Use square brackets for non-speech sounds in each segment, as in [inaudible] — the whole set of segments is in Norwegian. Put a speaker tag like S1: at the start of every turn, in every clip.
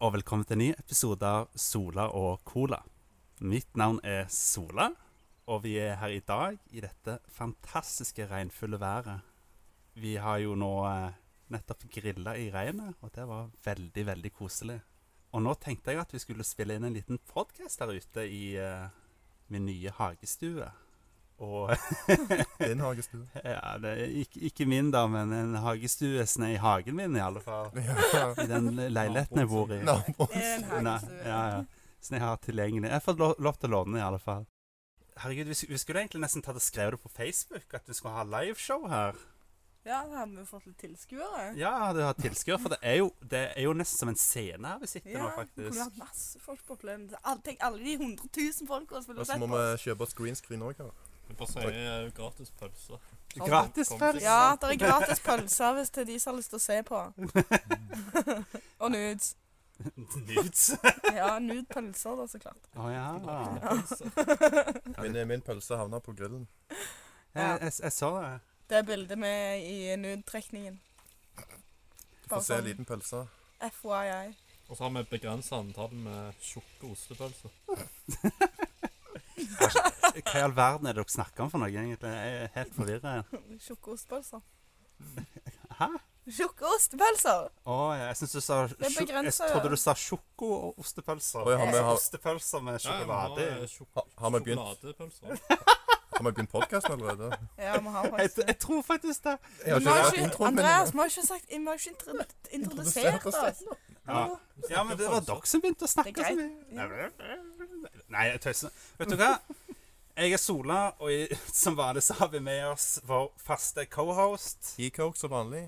S1: og velkommen til en ny episode av Sola og Cola. Mitt navn er Sola, og vi er her i dag i dette fantastiske regnfulle været. Vi har jo nå eh, nettopp grilla i regnet, og det var veldig, veldig koselig. Og nå tenkte jeg at vi skulle spille inn en liten podkast der ute i eh, min nye hagestue. Og [laughs]
S2: Din
S3: [laughs]
S2: hagestue.
S1: ja, det er ikke, ikke min, da, men en hagestue snei i hagen min, i alle fall.
S2: Ja.
S1: I den leiligheten jeg bor i.
S2: Nabo.
S3: En
S1: Nei,
S3: hagestue.
S1: ja, ja. Så jeg har tilgjengelig. Jeg har fått lov, lov til å låne den i alle fall. Herregud, vi, sk- vi skulle egentlig nesten tatt og skrevet det på Facebook, at du skulle ha liveshow her.
S3: Ja, da hadde vi fått litt tilskuere.
S1: Ja, du har tilskuere, for det er, jo, det er jo nesten som en scene her vi sitter nå,
S3: kunne vi
S1: faktisk.
S3: hatt masse folk på plenen. Al- Tenk alle de 100 000 folka som
S2: Og
S3: ville
S2: så
S3: sett
S2: må
S3: på.
S2: vi kjøpe oss green screen òg.
S4: Du får si gratis pølse.
S1: Gratis
S4: Kom- kom
S1: pølse.
S4: til-
S3: Ja, det er gratis pølser hvis det er de som har lyst til å se
S1: [laughs]
S3: på. Og nudes.
S1: Nudes.
S3: Ja, nude-pølser, da, så klart.
S1: Å ja.
S2: Min, min pølse havna på grillen.
S1: Jeg, jeg, jeg så det.
S3: Det er bildet med i nude-trekningen.
S2: Du får se
S3: Bare
S2: en
S3: sånn.
S2: liten pølse.
S3: FYI.
S4: Og så har vi begrensa antall med tjukke ostepølser.
S1: Hva i all verden er det dere snakker om for noe, egentlig? Jeg er helt forvirra.
S3: Tjukke ostepølser.
S1: Hæ?
S3: Tjukke ostepølser!
S1: Å, ja, jeg syns du sa sjo-
S3: Det begrenser-
S1: Jeg trodde du sa sjoko og ostepølser.
S2: Oi, har vi- har-
S1: Ostepølser med sjokolade i.
S2: Ha- Har vi begynt,
S4: Sjokoladepølser.
S2: [laughs] har vi begynt podkasten
S3: [laughs]
S2: allerede?
S3: Ja, vi
S1: [laughs]
S3: har
S1: Jeg,
S3: faktisk det.
S1: jeg tror faktisk det.
S2: Jeg har
S3: Vi har
S2: ikke
S3: ikke-
S2: hørt introen min.
S3: Andreas, vi har ikke sagt Vi har ikke intro- introdusert
S2: oss
S3: oss.
S2: ennå.
S1: Ja. Ja, men det var dere som begynte å snakke
S3: Det er
S1: så
S3: greit.
S1: mye. Nei, jeg tøyser. Vet du hva? Jeg er Sola, og i, [laughs] som vanlig så har vi med oss vår faste cohost.
S2: E-coke som vanlig.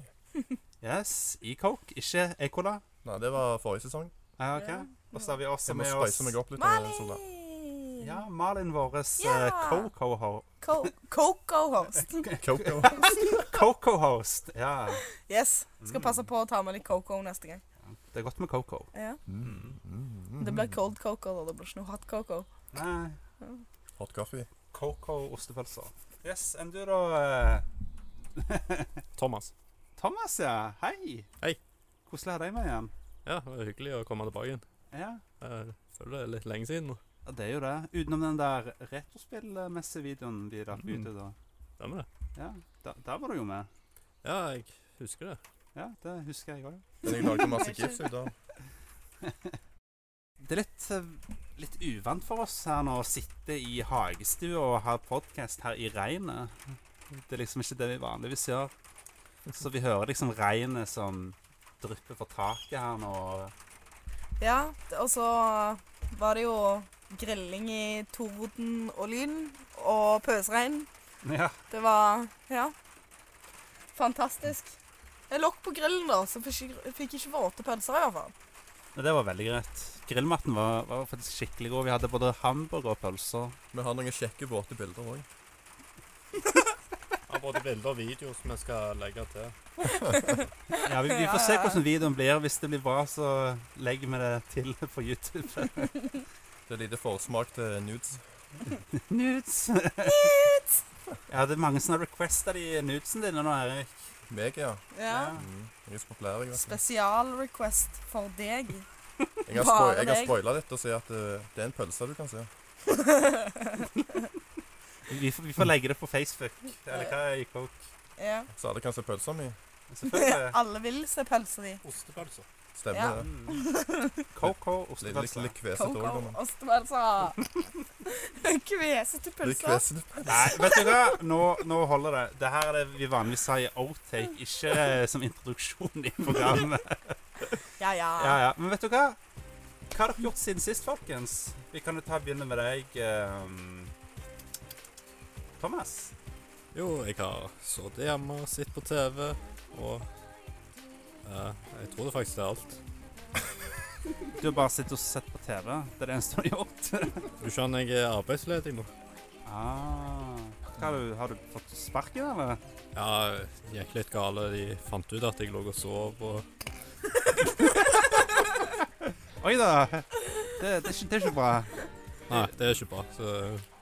S1: Yes, E-Coke, ikke E-Cola.
S2: Nei, det var forrige sesong.
S1: Ja, ok.
S3: Ja.
S1: Og så har vi også
S2: Jeg må
S1: med oss
S2: spice meg opp litt. eh,
S3: [laughs]
S2: Sola.
S3: Mali!
S1: ja, Malin, vår eh,
S3: Ja.
S1: co-co-host.
S3: Co Coco-host.
S2: Coco.
S1: Co-co-host, ja.
S3: Yes. Skal passe på å ta med litt coco neste gang.
S1: Det er godt med coco.
S3: Ja.
S2: Mm, mm, mm.
S3: Det blir cold coco, da. Det blir ikke noe hot coco.
S1: Nei,
S2: Hot coffee.
S1: coco-ostepølser. Yes, enn du da, eh,
S4: Thomas.
S1: Thomas, ja. Hei.
S4: Hei.
S1: Koselig å ha deg med igjen.
S4: Ja, det var hyggelig å komme tilbake igjen.
S1: Ja.
S4: Jeg føler det er litt lenge siden nå.
S1: Ja, det er jo det. Utenom den der retrospillmessige videoen vi rakk
S4: Mm.
S1: ut i da.
S4: Stemmer det?
S1: Ja, da, der var du jo med.
S4: Ja, jeg husker det.
S1: Ja, det husker jeg òg.
S2: Men jeg lager masse gifs i dag.
S1: [laughs] Det er litt, eh, litt uvant for oss her nå å sitte i hagestua og ha podkast her i regnet. Det er liksom ikke det vi vanligvis gjør. Så vi hører liksom regnet som drypper fra taket her nå.
S3: Ja, d- og så var det jo grilling i torden og lyn og pøsregn.
S1: Ja,
S3: Det var Ja. Fantastisk. Jeg lokk på grillen, da, så fikk ikke, fikk ikke våte pølser, i hvert fall.
S1: men det var veldig greit. Grillmaten var, var faktisk skikkelig god. Vi hadde både hamburger og pølser.
S2: Vi har noen kjekke, våte bilder òg.
S4: Jeg har både bilder og videoer som jeg skal legge til.
S1: Ja, vi, vi får
S3: Ja,
S1: se
S3: ja, ja.
S1: hvordan videoen blir. Hvis det blir bra, så legger vi det til på YouTube.
S3: [laughs]
S2: Det er lite forsmak til nudes.
S1: Nudes. ja, det er mange som har requesta de nudesene dine nå, Erik.
S2: Meg, ja.
S3: Ja.
S2: Mm. Jeg er så populær, jeg. vet du.
S3: Spesialrequest for deg.
S2: Jeg har, spoil,
S3: Bare
S2: jeg har
S3: deg.
S2: spoila litt og sier at eh, det er en pølse du kan se.
S1: Vi, får- vi får legge det på Facebook. Eller hva er Coke?
S2: [laughs]
S3: Ja.
S2: Så alle kan se pølsa mi.
S1: Selvfølgelig.
S3: Alle vil se pølsa di.
S4: Ostepølser.
S2: Stemmer
S3: Ja.
S2: det.
S1: Mm. Coco
S2: Litt, litt,
S1: ostepølse.
S2: litt kvesete òg.
S3: Coco, [laughs] ostepølser. Kvesete
S2: Litt
S3: pølser.
S2: kvesete.
S1: Nei, vet du hva? Nå, nå holder det. Dette er det vi vanligvis har i outtake, ikke eh, som introduksjon i programmet.
S3: Ja, ja.
S1: Ja, ja. Men vet du hva? Hva har dere gjort siden sist, folkens? Vi kan jo ta begynne med deg, ehm, Thomas.
S4: Jo, jeg har sittet hjemme, sett på TV, og eh, Jeg tror det faktisk det er alt.
S1: Du har bare sittet og sett på TV. Det er det eneste du har gjort.
S4: Du skjønner, jeg er arbeidsledig nå.
S1: [laughs] ah. Hva har, du, har du fått sparken, eller?
S4: Ja, det gikk litt gale. De fant ut at jeg lå og sov, og
S1: Oi da! Det, det, er, ikke, det er ikke bra.
S4: Nei, det er ikke bra. Så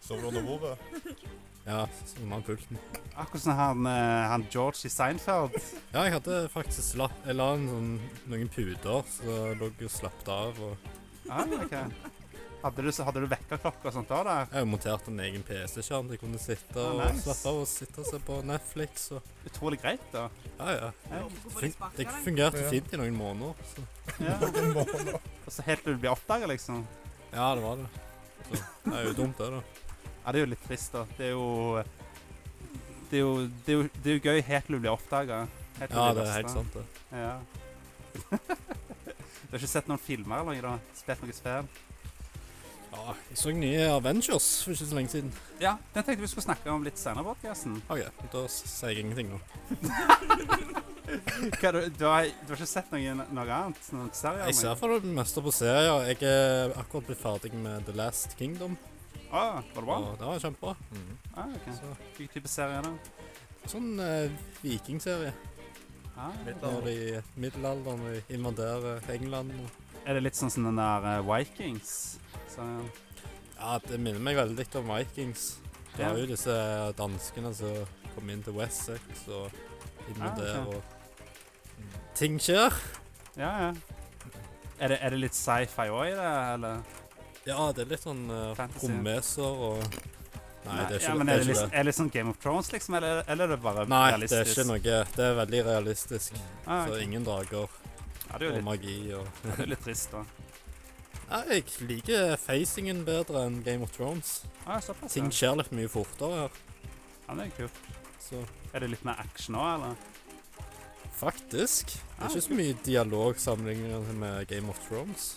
S2: Sover du under bordet?
S4: Ja, som har pulten.
S1: Akkurat som han, eh, han George i Seinfeld.
S4: Ja, jeg hadde faktisk slapp, jeg la en sånn, noen puder, så jeg lå og slappet av. Og
S1: Ah, ok. Hadde du, hadde du vekkerklokke og sånt da? der?
S4: jeg monterte en egen PC-skjerm der jeg kunne sitte
S1: Ah,
S4: og
S1: nice.
S4: slappe av og sitte og se på Netflix. Og,
S1: Utrolig greit, da.
S4: ja, ja.
S1: Ja.
S4: Det fun- Det fungerte
S5: Ja.
S4: fint i noen måneder. Så.
S1: Ja.
S5: Noen måneder.
S1: Og så helt til du blir oppdaga, liksom.
S4: Ja, det var det. Så, det er jo dumt, det, da.
S1: Ja, det er jo litt trist, da. Det er jo Det er jo, det er jo, det er jo gøy helt til du blir oppdaga.
S4: Ja, [laughs] det er helt sant, det.
S1: Ja. [laughs] du har ikke sett noen filmer eller noe? da? Spilt noe spill?
S4: Ja, jeg så nye Avengers for ikke så lenge siden.
S1: Ja, den tenkte vi skulle snakke om litt senere, i podcasten.
S4: OK, da s- sier jeg ingenting nå.
S1: [laughs] Hva, du, du, har, du har ikke sett noe, noe annet? Noen serier?
S4: Jeg ser for det meste på serier. Jeg er akkurat blitt ferdig med The Last Kingdom.
S1: Ah, var det bra?
S4: Og det var kjempebra.
S5: Mm.
S1: Ah, ok.
S4: Så,
S1: Hvilken type serie er det?
S4: sånn eh, vikingserie.
S1: Ah.
S4: Når de i middelalderen de invaderer England. Og,
S1: Er det litt sånn som den der eh, Vikings? Så,
S4: ja, Det minner meg veldig om Vikings. Det
S1: Ja.
S4: var jo disse eh, danskene som kom inn til Wessex og invaderer.
S1: Ah, ok.
S4: og Ting skjer.
S1: ja, ja. Er det, er det litt sci-fi òg i det, eller?
S4: Ja, det er litt sånn uh,
S1: Fantasy.
S4: romveser og Nei, det er ikke
S1: ja, men
S4: det.
S1: er det,
S4: Er ikke
S1: litt,
S4: det.
S1: er det litt sånn Game of Thrones, liksom, eller, eller er det bare
S4: Nei, det er
S1: realistisk?
S4: ikke noe Det er veldig realistisk.
S1: Ah,
S4: Så
S1: ok.
S4: ingen drager
S1: ja, det er
S4: og
S1: jo litt,
S4: magi og
S1: det er jo litt trist, da.
S4: Nei, Jeg liker facingen bedre enn Game of Thrones.
S1: Ah, såpass, ja.
S4: Ting skjer litt mye fortere her.
S1: Ja, det er kult.
S4: Så
S1: Er det litt mer action òg, eller?
S4: Faktisk. Det
S1: Ah,
S4: er ikke så mye dialog sammenlignet med Game of Thrones.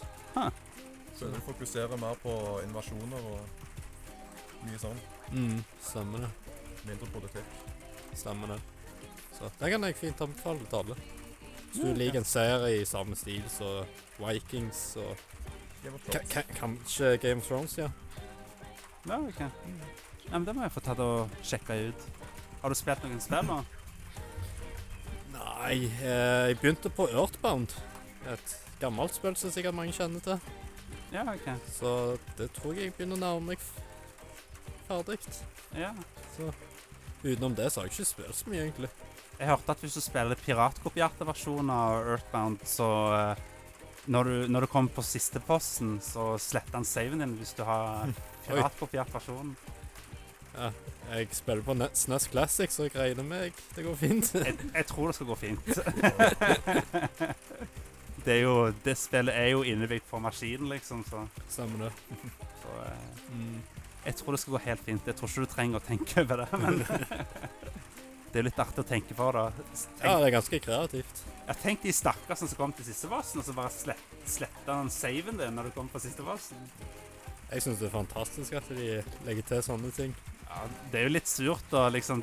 S5: Så du fokuserer mer på invasjoner og mye sånn.
S4: Mm. Stemmer det.
S5: Mindre politikk.
S4: Stemmer det. Så den kan jeg fint anbefale til alle. Hvis du
S1: Ja,
S4: liker en serie i samme stil som Vikings og
S5: Game of
S4: ka
S5: Thrones.
S4: ka [laughs] Kanskje Game of Thrones, ja.
S1: Ja, ok. Ja, men det må jeg få tatt og sjekke ut. Har du spilt noen spill, da?
S4: Nei, eh, jeg begynte på Earthbound. Et gammelt spill som sikkert mange kjenner til.
S1: Ja, ok.
S4: Så det tror jeg jeg begynner å nærme meg f- ferdig.
S1: Ja.
S4: Så utenom det så har jeg ikke spilt så mye, egentlig.
S1: Jeg hørte at hvis du spiller piratkopierte versjoner av Earthbound, så eh, når du, når du kommer på siste posten, så sletter han saven din hvis du
S4: [laughs]
S1: har piratkopiert versjonen.
S4: Jeg spiller på E Net- SNES Classic, så jeg regner med jeg- det går fint. [laughs]
S1: Jeg, jeg tror det skal gå fint. det, er jo, det spillet er jo innebygd på maskinen, liksom, så,
S4: Stemmer det.
S1: så eh,
S4: Mm.
S1: Jeg tror det skal gå helt fint. Jeg tror ikke du trenger å tenke over det, men [laughs] Det er jo litt artig å tenke på, da.
S4: Ja,
S1: Tenk,
S4: det er ganske kreativt.
S1: ja, tenk de stakkarsene som kom til siste bossen, og så bare slett, sletter han saven din når du kommer på siste bossen.
S4: Jeg syns det er fantastisk at de legger til sånne ting.
S1: Ja, det er jo litt surt, da. liksom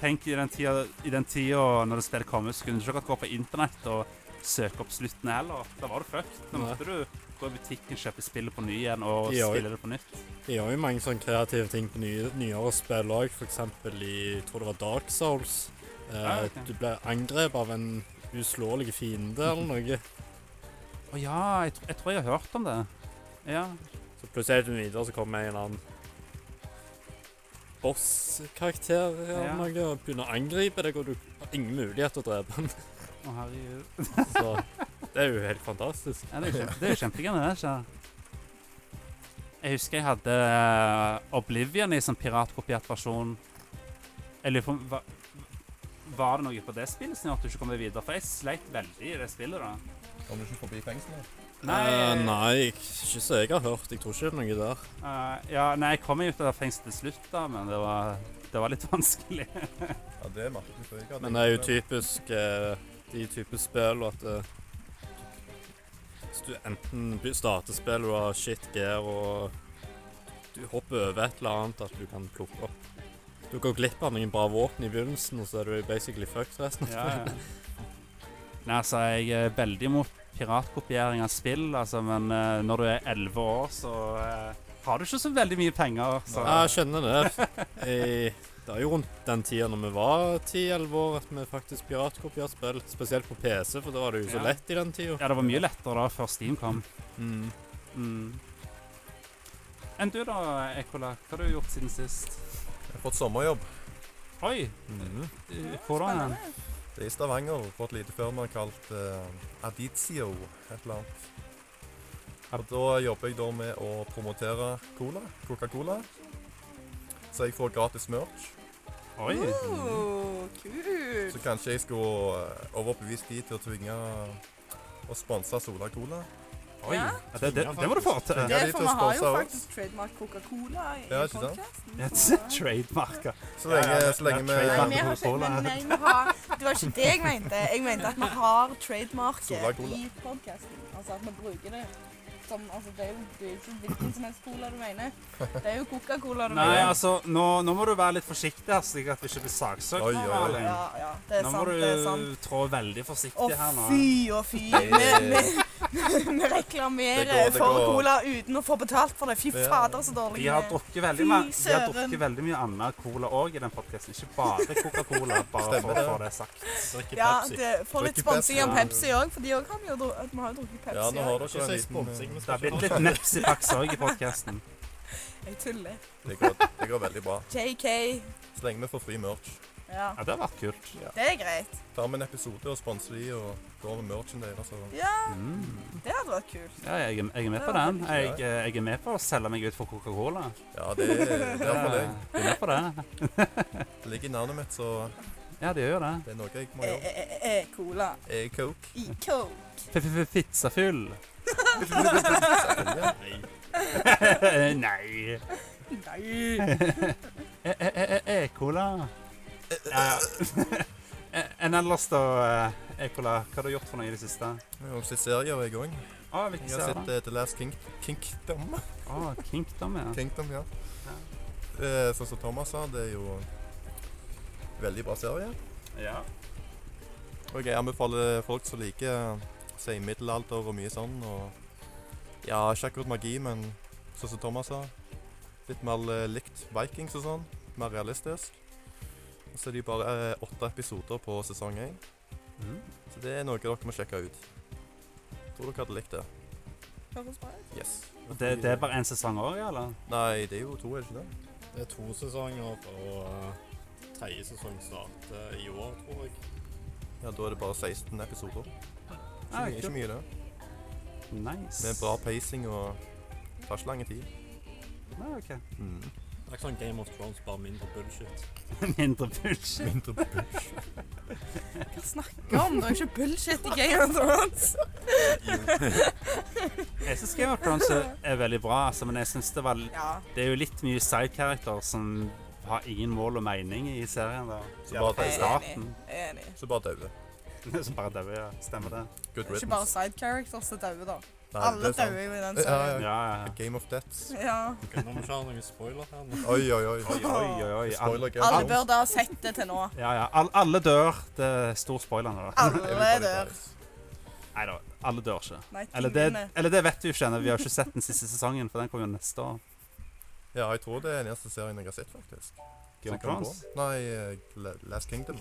S1: Tenk i den tida, i den tida når det spillet kom ut, så kunne du ikke akkurat gå på internett og søke opp slutten heller. Da var du fucked. Da
S4: Nei.
S1: måtte du gå i butikken, kjøpe spillet på ny igjen og
S4: Ja,
S1: spille det på nytt.
S4: De gjør jo mange sånne kreative ting på nye, nyere spill òg, f.eks. i jeg tror det var Dark Souls. Eh,
S1: Ah, ok.
S4: Du ble angrepet av en uslåelig fiende [laughs] eller noe.
S1: Å ja, jeg, tr jeg tror jeg har hørt om det. Ja.
S4: Så plutselig helt videre så kommer en eller annen boss-karakter eller
S1: Ja.
S4: noe og begynner å angripe deg, og du har ingen mulighet til å drepe han.
S1: Å herregud.
S4: Så det er jo helt fantastisk.
S1: Ja, det er jo kjempe- det er jo kjempegøy med det. Ikke? Jeg husker jeg hadde eh, Oblivion i sånn piratkopiert versjon. Jeg lurer på om hva- Var det noe på det spillet som gjorde at du ikke kom deg videre? For jeg sleit veldig i det spillet. da.
S5: Kom du ikke forbi fengselet?
S4: Eh, nei, ikke så jeg har hørt. Jeg tror ikke det er noe der.
S1: Eh, ja, nei, jeg kom meg ut av fengselet til slutt, da, men det var, det var litt [laughs] vanskelig.
S5: Ja, det merket du før. jeg hadde
S4: Men det er jo
S5: ikke
S4: typisk eh, de type spill og at eh, Hvis du enten by- starter spill og har shit gear og du hopper over et eller annet at du kan plukke opp Du går glipp av noen bra våpen i begynnelsen, og så er du basically fucked resten av
S1: Ja, ja. Nei, altså, jeg er veldig imot piratkopiering av spill, altså, men eh, når du er 11 år, så eh, har du ikke så veldig mye penger. Så,
S4: Ja, jeg skjønner det. I- det er jo rundt den tida når vi var 10-11 år, at vi faktisk piratkopierte spill. Spesielt på PC, for da var det jo så
S1: Ja.
S4: lett i den tida.
S1: Ja, det var mye lettere da før Steam kom.
S4: Mm.
S1: Mm. Enn du da, Ekola, hva har du gjort siden sist? Mm.
S2: Jeg har fått sommerjobb.
S1: Oi!
S2: Eh,
S3: Ja,
S1: Hvor da?
S3: spennende.
S2: Det er i Stavanger, på et lite firma kalt eh, Aditio, et eller annet. Og da jobber jeg da med å promotere cola, Coca-Cola. Så jeg får gratis merch.
S1: Oi!
S3: Oh, kult.
S2: Så kanskje jeg skulle eh, overbevise de til å tvinge å sponse Sola Cola.
S1: Oi.
S3: Ja.
S1: Ja, det, det, det må du få til.
S2: Ja,
S3: Det,
S2: de
S3: for
S2: to
S3: vi har
S2: sponsorer
S3: jo
S2: oss.
S3: faktisk trademark Coca-Cola i
S2: Ja, ikke sant?
S3: podcasten,
S1: Ja,
S3: så-
S1: Trademarker.
S2: Så
S1: Ja,
S2: lenge,
S1: ja,
S2: så lenge
S1: ja,
S2: vi
S3: Nei,
S1: trademark.
S3: vi har ikke,
S1: Coca-Cola.
S3: men nei, vi har, det var ikke det jeg mente. Jeg mente at vi har
S2: Sola
S3: trademarket
S2: Cola.
S3: i podkasten. Altså at vi bruker det som altså, Det er jo det er ikke hvilken som helst cola du mener. Det er jo Coca-Cola du
S1: Nei,
S3: mener.
S1: altså, nå, nå må du være litt forsiktig, her, slik at vi ikke blir saksøkt.
S2: Oi,
S1: nå,
S2: oi, oi.
S1: Erling.
S3: Ja, ja. Det er
S1: Nå må
S3: sant. Det er sant.
S1: du trå veldig
S3: Å,
S1: forsiktig her nå.
S3: fy og fy. Vi, vi, vi
S2: Det
S3: reklamerer
S2: går, det
S3: for
S2: går.
S3: cola uten å få betalt for det. Fy
S2: Ja.
S3: fader, så dårlig
S1: De har
S3: vi er.
S1: drukket veldig,
S3: Fy
S1: mer, de har
S3: søren.
S1: drukket veldig mye annen cola òg i den podkasten. Ikke bare Coca-Cola, bare
S2: Stemmer
S1: for å
S2: det.
S1: få det sagt.
S4: Drikker
S3: Ja,
S4: Pepsi.
S3: det, Få litt
S2: Drikker
S3: sponsing av
S1: Pepsi.
S3: Pepsi òg, for de òg har vi jo dru- vi har jo drukket Pepsi.
S2: Ja, nå har
S3: også.
S2: dere en liten eh,
S1: Det har blitt litt Nepsipax òg i podkasten.
S3: Jeg tuller.
S2: det går, det går veldig bra.
S3: JK.
S2: Så lenge vi får fri merch.
S3: Ja,
S1: Ja, det har vært kult.
S3: det er greit.
S2: Tar vi en episode og sponser de og går med merchen deres. og-
S3: Ja,
S1: Mm.
S3: det hadde vært kult.
S1: Ja, jeg, er- jeg er med på den. Jeg, eh, jeg er med på å selge meg ut for Coca-Cola.
S2: Ja, det, det er
S1: Ja,
S2: for deg.
S1: jeg er med på det.
S2: Det ligger i navnet mitt, så
S1: Ja, det gjør det.
S2: det er noe jeg må
S3: Eh,
S1: Eh,
S2: gjøre.
S3: E-cola.
S2: Jeg coke.
S3: I coke.
S1: F-f-f-Pizzafyll. [laughs] Nei. Eh,
S3: Nei.
S1: E-cola.
S2: Eh,
S1: Enn ellers, da, eh, e-cola, hva har du gjort for noe i det siste?
S2: Jeg har sett serier i gang.
S1: Å, hvilken
S2: Jeg har
S1: serie?
S2: sett eh, The Last King Kingdom.
S1: Å, Kingdom, Ah, ja.
S2: Kingdom, ja. Eh, Sånn som Thomas sa, det er jo en veldig bra serie.
S1: ja.
S2: Og jeg anbefaler folk som liker eh, si middelalder og mye sånn. Og ja, ikke akkurat magi, men sånn som Thomas sa. Litt mer eh, likt Vikings og sånn. Mer realistisk. Og Så er det jo bare eh, åtte episoder på sesong én.
S1: Mm.
S2: Så det er noe dere må sjekke ut. Tror dere hadde likt det.
S3: Høres bra ut.
S2: Yes.
S1: Og Det, det er bare én sesong òg, eller?
S2: Nei, det er jo to, er det ikke det?
S4: Det er to sesonger, og eh, tredje sesong starter i år, tror jeg.
S2: Ja, da er det bare 16 episoder. Så
S1: Ja,
S2: det er ikke
S1: Ah, kult.
S2: mye, det.
S1: Nice.
S2: Med bra pacing og tar ikke lang tid.
S1: Ja, Ah, ok. [laughs]
S4: Det er ikke sånn Game of Thrones, bare mindre bullshit.
S1: Mindre bullshit.
S3: Hva snakker om? Det er jo ikke bullshit i Game of Thrones.
S1: Jeg syns Game of Thrones er er veldig bra, altså, men jeg synes det, var, l-
S3: Ja.
S1: det er jo litt mye sidecharacter som har ingen mål og mening i serien. da.
S2: Så
S1: [laughs]
S2: bare døde.
S3: Jeg
S1: Ja.
S3: er
S1: Staten.
S3: enig. Jeg er enig.
S2: Så bare døde.
S1: Som bare dauer. ja. Stemmer det?
S2: Good
S3: Det er ikke bare
S2: riddance.
S3: side characters som dauer, da.
S2: Nei, det
S3: Alle
S2: er sant.
S3: dauer jo i den
S2: Ja,
S3: serien.
S1: Ja, ja. ja.
S2: Game of Deaths.
S3: Ja.
S4: Ok, Nå må vi ikke ha noen spoiler her. nå.
S2: Oi, oi, oi.
S1: Oi, oi, oi. Alle,
S2: Spoiler
S3: Alle bør da ha sett det til
S2: [laughs]
S3: nå.
S1: ja, ja. All, alle dør. Det er stor spoiler nå. da.
S3: Alle dør.
S1: Nei da, alle dør ikke.
S3: Nei,
S1: Eller det,
S3: tingene.
S1: eller det vet vi jo ikke ennå. Vi har jo ikke sett den siste sesongen, for den kommer jo neste år.
S2: Ja, jeg tror det er den eneste serien jeg har sett, faktisk.
S1: Game
S2: Så
S1: of
S2: jeg kom
S1: Thrones.
S2: på. Nei, eh, La- Last Kingdom.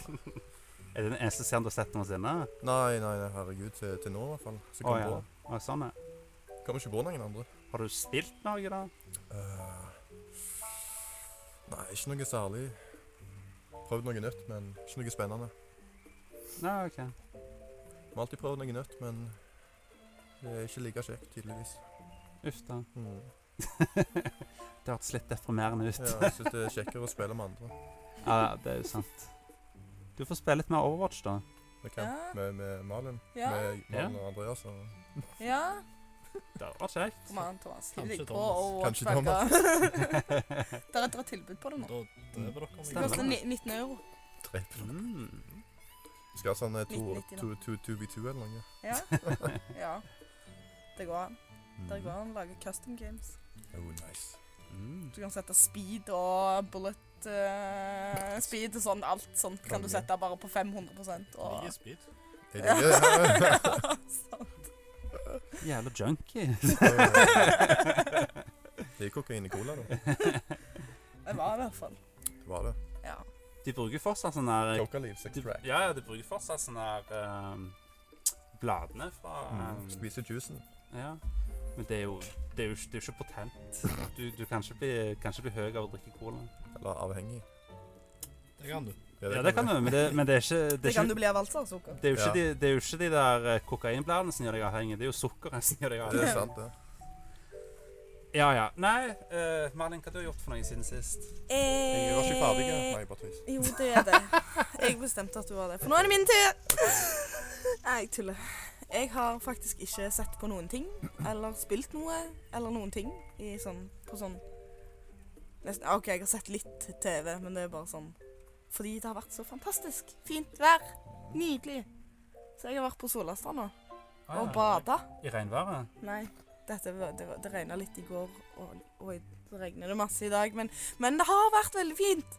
S1: Er det den eneste serien du har sett noensinne?
S2: Nei, nei, nei, herregud, til, til nå i hvert fall. Så
S1: Å,
S2: kom jeg
S1: ja.
S2: på.
S1: Å, sånn, ja.
S2: Kommer ikke på noen andre.
S1: Har du spilt noe, da?
S2: Eh, nei, ikke noe særlig. Prøvd noe nytt, men ikke noe spennende.
S1: Nei, OK.
S2: Vi har alltid prøvd noe nytt, men det er ikke like kjekt, tydeligvis.
S1: Uff da.
S2: Mm.
S1: Det hørtes litt deprimerende ut.
S2: Ja, jeg synes det er kjekkere å spille med andre.
S1: [laughs] Ja, det er jo sant. Du får spille litt mer Overwatch, da.
S2: Med, hvem?
S3: Ja.
S2: med, med Malin.
S3: Ja.
S2: Med Malin
S1: Ja.
S2: og Andreas. Og
S3: ja.
S1: Det hadde vært kjekt.
S3: Kom an, Thomas. Hiv
S4: Kanskje
S3: deg på
S4: Thomas.
S3: Overwatch.
S2: Kanskje [laughs]
S3: [laughs] Thomas. Der er et tilbud på det nå.
S4: Da dreper dere
S3: Det
S4: meg.
S1: Stemmer.
S3: koster ni- 19 euro.
S2: Dreper.
S1: Mm.
S2: Skal ha sånn eh, to-
S3: 1990 nå.
S2: to- to- 2v2 eller noe. [laughs]
S3: Ja. ja. Det går an. Det går an å lage custom games.
S2: Oh, nice.
S1: Mm.
S3: Du kan sette speed og bullet eh, speed og sånn. Alt sånt kan du
S2: Konge.
S3: sette bare på 500 og
S4: Mye speed.
S2: Er det gøy?
S3: sånn.
S1: Jævla junkie.
S2: [laughs]
S1: [laughs]
S2: Det er kokain i cola, da.
S3: Det var det i hvert fall.
S2: Det var det.
S3: Ja.
S1: De bruker fortsatt sånn der
S2: Coca Leaf, six
S1: de,
S2: track.
S1: Ja, ja, de bruker fortsatt sånn der ehm, Bladene fra
S2: Mm.
S1: ehm,
S2: Spise juicen.
S1: Ja. Men det er jo, det er jo, ikke- det er jo ikke potent. Du, du kan ikke bli, kan ikke bli høy av å drikke cola.
S2: Eller avhengig.
S4: Det kan du.
S1: Ja, det kan du, men det, men det er ikke
S3: Det
S1: Det er
S3: kan du
S1: ikke,
S3: bli av alt, sa sukker.
S1: det er jo ikke,
S2: Ja.
S1: de, det er jo ikke de der eh, kokainbladene som gjør deg avhengig, det er jo sukkeret som gjør deg
S2: Det er
S1: avhengig.
S2: sant, det.
S1: Ja, ja. Nei, eh, Malin, hva du har gjort for noe siden sist?
S2: Jeg var ikke ferdig. jeg. Nei, bare tøys.
S3: Jo, det er det. Jeg bestemte at du var det. For nå er det min tur! Nei, jeg tuller. Jeg har faktisk ikke sett på noen ting, eller spilt noe, eller noen ting i sånn, på sånn nesten, OK, jeg har sett litt TV, men det er bare sånn Fordi det har vært så fantastisk fint vær. Nydelig. Så jeg har vært på Solastranda og bada.
S1: I regnværet?
S3: Nei, dette, var- det, var- det regna litt i går, og, og i- det regner det masse i dag. Men, men det har vært veldig fint.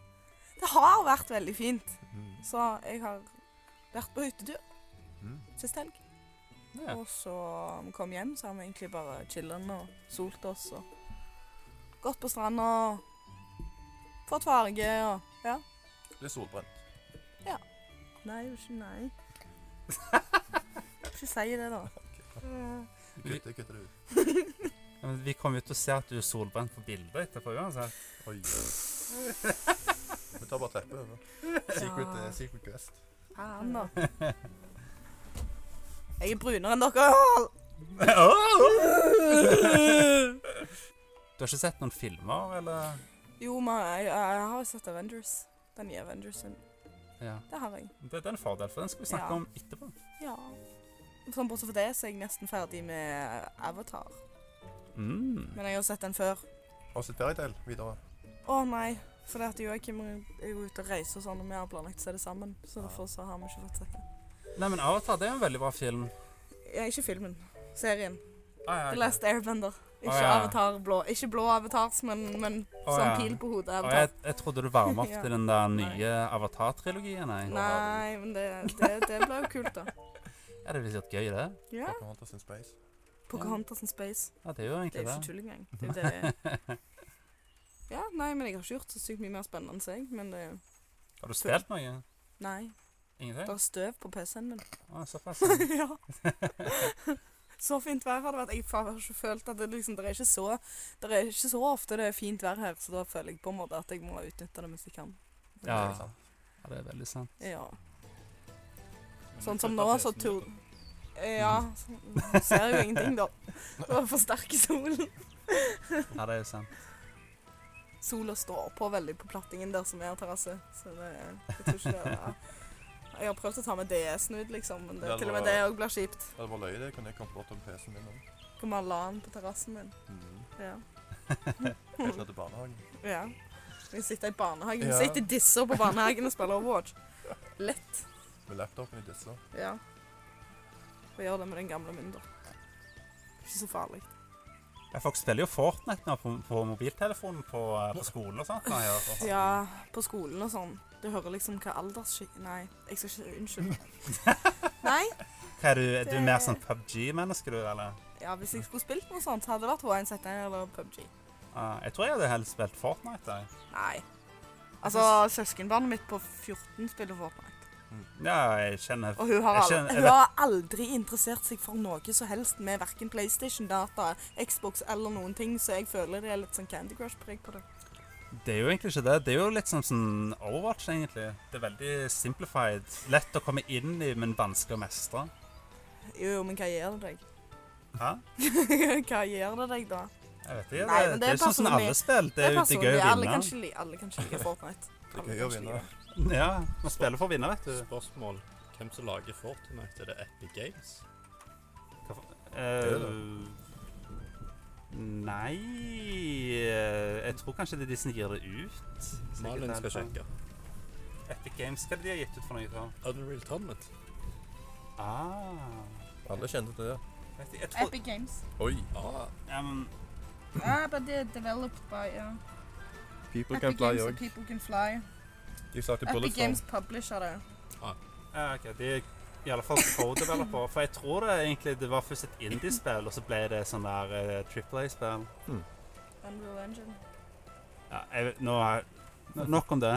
S3: Det har vært veldig fint.
S2: Mm.
S3: Så jeg har vært på hyttetur sist helg.
S1: Ja.
S3: Og så vi kom hjem, så har vi egentlig bare chillen og solt oss og gått på stranda og fått farge og Ja.
S2: Litt solbrent.
S3: Nei, jo ikke nei. Ikke si det, da.
S2: Du Kutter, kutter det ut.
S1: Ja, men Vi kommer jo til å se at du er solbrent på bildet etterpå uansett.
S2: [laughs] Oi. Vi tar bare teppet over. Secret,
S3: Ja.
S2: eh, secret guest.
S3: Faen, da. Jeg er brunere enn dere.
S1: [laughs] du har ikke sett noen filmer, eller?
S3: Jo, men jeg, jeg har jo sett Avengers. Den nye Avengersen.
S1: Ja.
S3: Det har jeg.
S1: Det, det er en fordel, for den skal vi snakke
S3: Ja.
S1: om etterpå.
S3: Ja. Sånn Bortsett fra det så er jeg nesten ferdig med Avatar.
S1: Mm.
S3: Men jeg har sett den før.
S2: Og sitt fairytale videre.
S3: Å nei. Fordi at Joakim er jo ute og reiser og sånn, og vi har planlagt å se det sammen. Så derfor så har vi ikke fått sett det.
S1: Nei, men Avatar det er en veldig bra film.
S3: Ja, ikke filmen. Serien.
S1: Ah, ja,
S3: The
S1: ok.
S3: Last Airbender. Ikke
S1: ja.
S3: Avatar blå. Ikke blå Avatars, men, men
S1: Å,
S3: sånn
S1: ja.
S3: pil på hodet
S1: Og
S3: Avatar.
S1: jeg, jeg trodde du varma opp
S3: [laughs] Ja.
S1: til den der nye Avatar-trilogien. jeg.
S3: Nei, men det, det, det ble jo kult, da.
S1: Ja, det blir sikkert gøy, det.
S3: Ja.
S2: Pocahontas in space.
S3: Pocahontas in space.
S1: Ja, det er jo
S3: Det er
S1: egentlig
S3: jo ikke
S1: det.
S3: tull engang. Det er jo det det [laughs] er. Ja, nei, men jeg har ikke gjort så sykt mye mer spennende enn seg. Men det
S1: Har du spilt noe?
S3: Nei. Det
S1: Ingenting?
S3: er støv på PC-en min.
S1: Ah,
S3: [laughs]
S1: såpass. [laughs] ja.
S3: liksom. ja. så fint vær har det vært. Jeg faen har ikke følt at det liksom Det er ikke så Det er ikke så ofte det er fint vær her, så da føler jeg på en måte at jeg må utnytte det mens jeg kan.
S1: Ja.
S2: Det er sant.
S1: ja, det er veldig sant.
S3: Ja. Sånn som nå, så tur... Ja. Så ser jeg jo ingenting, da. Det var for sterk sol.
S1: Ja, det er jo sant.
S3: Sola står på veldig på plattingen der som er terrasse. Så det, jeg tror ikke det er Jeg har prøvd å ta med DS-en ut, liksom, men det,
S2: Det
S3: til og
S2: var-
S3: med det òg blir kjipt.
S2: Det var løye, det. Kunne jeg kommet bort til PC-en min òg.
S3: Kan man la den på terrassen min?
S2: Mm.
S3: Ja.
S2: Helt ned til barnehagen.
S3: ja. Vi sitter i barnehagen.
S2: Ja.
S3: Ja. Sitter disser på barnehagen og spiller Overwatch. Lett.
S2: Med laptopen i disse.
S3: Ja. Og gjør det med den gamle min, da. Ikke så farlig.
S1: Ja, folk spiller jo Fortnite nå på, på mobiltelefonen på, eh, på skolen og sånt. Nei, ja.
S3: Ja, på skolen og sånn. Du hører liksom hva aldersskikk Nei, jeg skal ikke Unnskyld. Nei.
S1: Hva er du, er du mer sånn PubG-menneske, du, eller?
S3: Ja, hvis jeg skulle spilt noe sånt, hadde det vært H1Z1 eller PubG.
S1: Ah, jeg tror jeg hadde helst spilt Fortnite. Jeg.
S3: Nei. Altså, søskenbarnet mitt på 14 spiller Fortnite.
S1: Ja, jeg kjenner
S3: Og hun har,
S1: Jeg
S3: aldri,
S1: kjenner- jeg
S3: hun har aldri interessert seg for noe som helst med verken PlayStation, data, Xbox eller noen ting, så jeg føler det er litt sånn Candy Crush-preg på det.
S1: Det er jo egentlig ikke det. Det er jo litt som sånn Overwatch, egentlig. Det er veldig simplified. Lett å komme inn i, men vanskelig å mestre.
S3: Jo, jo, men hva gjør det deg?
S1: Hæ?
S3: [laughs] hva gjør det deg, da?
S1: Jeg vet ikke.
S3: Nei,
S1: det,
S3: men
S1: det er sånn som
S3: personlig.
S1: alle spill. Det er jo det er gøy å
S3: Alle
S1: vinne.
S3: kan ikke li- alle kan ikke like
S1: [laughs]
S3: Fortnite.
S2: Det
S3: Alle
S2: er gøy å
S3: kan ikke
S2: vinne.
S3: like det.
S1: Ja, man spiller for å vinne, vet du.
S4: Spørsmål. Hvem som lager Fortnite? Er det Epic Games?
S2: er det.
S1: Eh, nei eh, Jeg tror kanskje det er de som gir det ut. Sikkert
S4: Malin
S1: det er
S4: skal
S1: sånn.
S4: sjekke.
S1: Epic Games, hva er det de har gitt ut for noe? da?
S4: Unreal Tournament.
S1: Ah.
S2: Alle kjente til det.
S1: Vet ikke, jeg tror,
S3: Epic Games.
S2: Oi.
S4: Ah,
S1: ja, men,
S3: Ah, but they're developed by uh, yeah.
S2: People can fly òg.
S3: People Can Fly.
S2: De sa til Bullet
S3: publisher det.
S1: Ja, ok, de er i alle fall co-developer. For jeg tror det egentlig det var først et indie-spill, og så ble det sånn der eh, Triple A-spill.
S3: Unreal Engine.
S1: Ja, jeg, vet- nå er nå- Nok om det.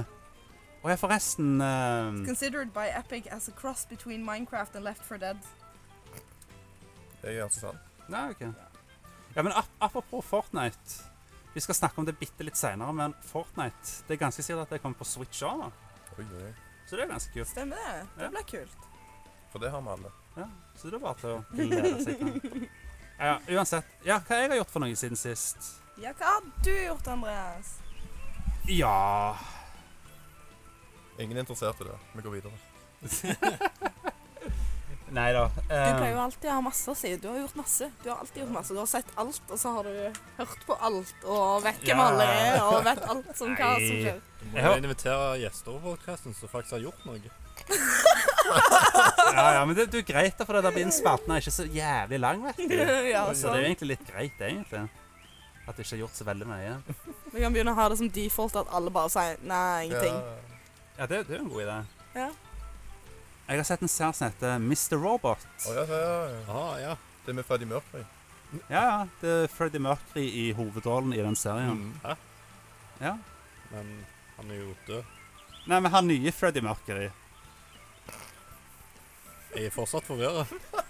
S1: Og jeg forresten eh,
S3: Considered by Epic as a cross between Minecraft and Left 4 Dead.
S2: Det er ganske sånn, sant.
S1: Nei, ok. Ja, men ap apropos Fortnite. Vi skal snakke om det bitte litt seinere, men Fortnite Det er ganske sikkert at det kommer på Switch òg,
S2: Oi, oi, oi.
S1: så det er ganske kult.
S3: Stemmer det.
S1: Ja.
S3: Det blir kult.
S2: For det har vi alle.
S1: Ja, så det er bare til å glede seg til. den. Ja, ja, uansett. Ja, hva jeg har gjort for noe siden sist?
S3: Ja, hva har du gjort, Andreas?
S1: Ja
S2: Ingen er interessert i det. Vi går videre.
S1: Nei da.
S3: Du pleier jo alltid å ha masse å si. Du har gjort masse. Du har alltid gjort masse. Du har sett alt, og så har du hørt på alt, og vet hvem
S1: Ja.
S3: alle er, og vet alt som hva som
S1: Nei.
S3: skjer. [laughs]
S4: Du
S1: Jeg
S4: må
S1: har-
S4: jo invitere gjester over podcasten som faktisk har gjort noe.
S1: ja, ja, men det, det er jo greit, da, for det der blir den spalten er ikke så jævlig lang, vet [laughs] du.
S3: ja,
S1: Så det er
S3: sånn.
S1: jo egentlig litt greit, egentlig. At du ikke har gjort så veldig mye.
S3: Vi kan begynne å ha det som default at alle bare sier nei, ingenting.
S2: Ja.
S1: Ja, det, det er jo en god idé.
S3: Ja.
S1: Jeg har sett en serie som heter Mr. Robot.
S2: Å, ja, ja, ja.
S4: Ah, ja.
S2: Det er med Freddie Mercury.
S1: Ja, ja. Det er Freddie Mercury i hovedrollen i den serien.
S4: Mm. Hæ?
S1: Ja.
S4: Men han er jo død.
S1: Nei, men han nye Freddie Mercury.
S4: Jeg er fortsatt forvirra.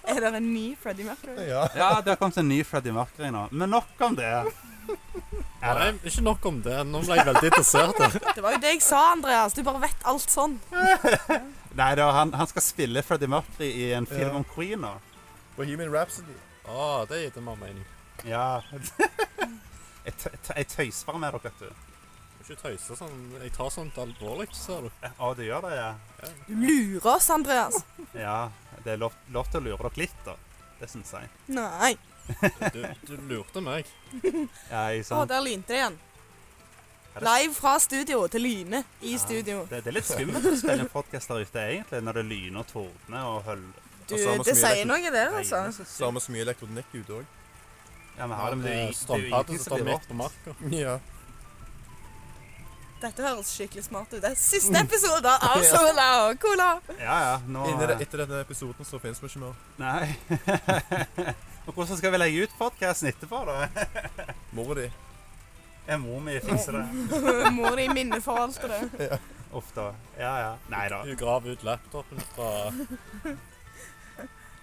S3: Er det en ny Freddie Mercury?
S2: Ja.
S1: Ja, det har kommet en ny Freddie Mercury nå. Men nok om det. [laughs] Ja,
S4: Nei, ikke nok om det. Nå ble jeg veldig interessert. her.
S3: Det var jo det jeg sa, Andreas. Du bare vet alt sånn.
S1: Nei, da, han, han skal spille Freddie Mercury i en film
S2: Ja.
S1: om Queen nå.
S2: Bohemian Rhapsody.
S4: Ah, det gitt en mer mening.
S1: Ja. [laughs] Jeg, tø- tø- jeg tøyser bare med dere, vet du.
S4: Du må Ikke tøyse sånn. Jeg tar sånt alvorlig, ser du.
S1: Å, du gjør det, ja.
S3: Du lurer oss, Andreas.
S1: Ja, det er lov, lov til å lure dere litt, da. Det syns jeg.
S3: Nei.
S4: Du, du lurte meg.
S1: Ja, jeg,
S3: Å,
S1: sånn,
S3: der lynte det igjen.
S1: Er det-
S3: Live fra studio til lyne i
S1: Ja.
S3: studio.
S1: det, det er litt skummelt å spille en podkast der ute, egentlig, når det lyner og tordner og høller.
S2: Og
S3: Du,
S2: så har vi så
S3: det
S2: mye
S3: sier noe, det, altså.
S2: Så har vi så mye elektronikk ute òg.
S1: Ja, men har det, men det, er- det er jo
S4: Strømpadde
S1: ingenting
S4: Eh, som
S1: som
S4: står
S1: blir
S4: midt
S1: rått.
S4: på marka.
S2: Ja.
S3: Dette høres skikkelig smart ut. Det er siste
S1: Mm.
S3: episode
S1: [laughs]
S3: av Sola og Cola. [laughs]
S1: Ja, Ah, ja, nå
S2: Inni det, etter denne episoden så finnes vi ikke mer.
S1: Nei. [laughs] og hvordan skal vi legge ut podkasten etterpå, da?
S2: Mora di.
S1: Er mor mi fikser det?
S3: Mor di minne for alt det.
S1: Uff da. Ja, ja. Nei da.
S4: Du graver ut laptopen fra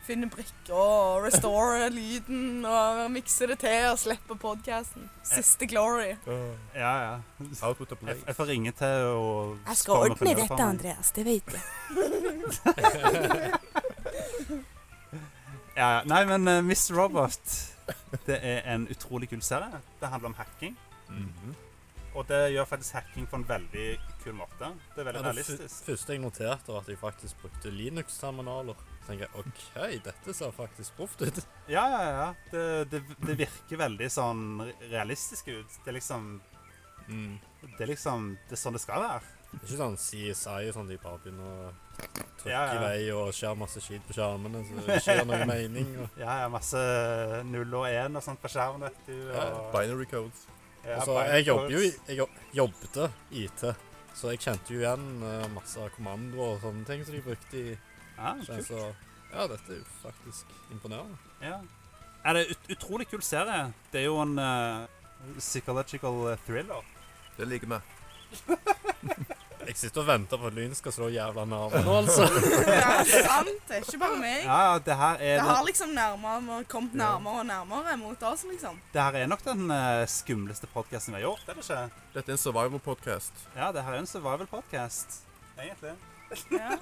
S3: Finne brikker og restore lyden og mikse det til og slippe podcasten. Siste glory.
S2: Åh.
S1: Ja, ja.
S2: Out with the
S1: Jeg,
S2: play.
S1: jeg får ringe til og
S3: Andreas. Det vet jeg.
S1: Ja, ja. Nei, men eh, Miss Robot Det er en utrolig kul serie. Det handler om hacking.
S4: Mhm.
S1: Og det gjør faktisk hacking på en veldig kul måte. Det er
S4: Ja,
S1: veldig
S4: Det fu-
S1: realistisk.
S4: første jeg noterte, var at jeg faktisk brukte Linux-terminaler. Så tenker jeg OK, dette ser faktisk proft ut.
S1: Ja, ja, ja. Det, det, det virker veldig sånn realistisk ut. Det er liksom
S4: Mm.
S1: Det er liksom Det er sånn det skal være.
S4: Det er Ikke sånn CSI og sånn de bare begynner å trykke
S1: Ja, ja.
S4: i vei og skjer masse skit på skjermene, så det ikke gir noe mening. Og,
S1: Ja, ja, masse null og én og sånt på skjermen, vet du.
S4: Ja,
S1: Og,
S2: Binary codes.
S1: [laughs] Ja,
S4: altså,
S1: bare-
S4: jeg jobber jo i Jeg jobb- jobbet IT, så jeg kjente jo igjen eh, masse kommandoer og sånne ting som de brukte i
S1: Ja,
S4: så
S1: kult.
S4: jeg så, Ja, dette er jo faktisk imponerende.
S1: Ja. Er det er ut utrolig kul serie. Det er jo en eh, psychological thriller.
S2: Det liker vi.
S4: Jeg sitter og venter på at lynet skal slå jævla nerver nå,
S1: [laughs]
S4: altså.
S3: [laughs] Ja, sant. Det er ikke bare meg.
S1: Ja, ja, det her er,
S3: Det har
S1: den,
S3: liksom nærmere, kommet nærmere og nærmere mot oss, liksom.
S1: det her er nok den eh, skumleste podkasten vi har gjort, er det ikke?
S2: Dette er en survival podcast.
S1: Ja, det her er en survival podcast, egentlig.
S3: Ja,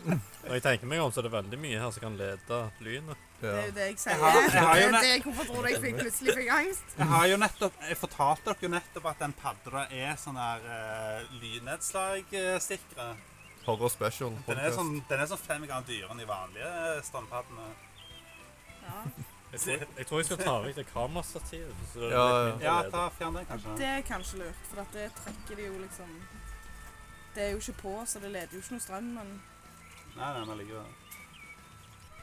S4: Når jeg tenker meg om, så er det veldig mye her som kan lede lynet.
S3: det er jo det jeg sier.
S1: har- jeg har jo
S3: Det-
S1: ne-
S3: det- Hvorfor tror du jeg fikk, plutselig fikk angst?
S1: Jeg har jo nettopp, jeg fortalte dere jo nettopp at den padda er sånn her uh, lynnedslagsikre.
S2: Horror special.
S1: Den er
S2: podcast.
S1: sånn, den er sånn fem ganger dyrere enn de vanlige eh, strandpaddene.
S3: Ja.
S4: Jeg tror jeg, tror jeg skal ta vekk det kamerastativet. så det er
S2: Ja,
S4: litt mindre
S1: Ja,
S4: lede.
S1: ta fjern den, kanskje.
S3: Det er kanskje lurt, for at det trekker det jo liksom Det er jo ikke på, så det leder jo ikke noe strøm, men
S1: Nei, nei, men likevel.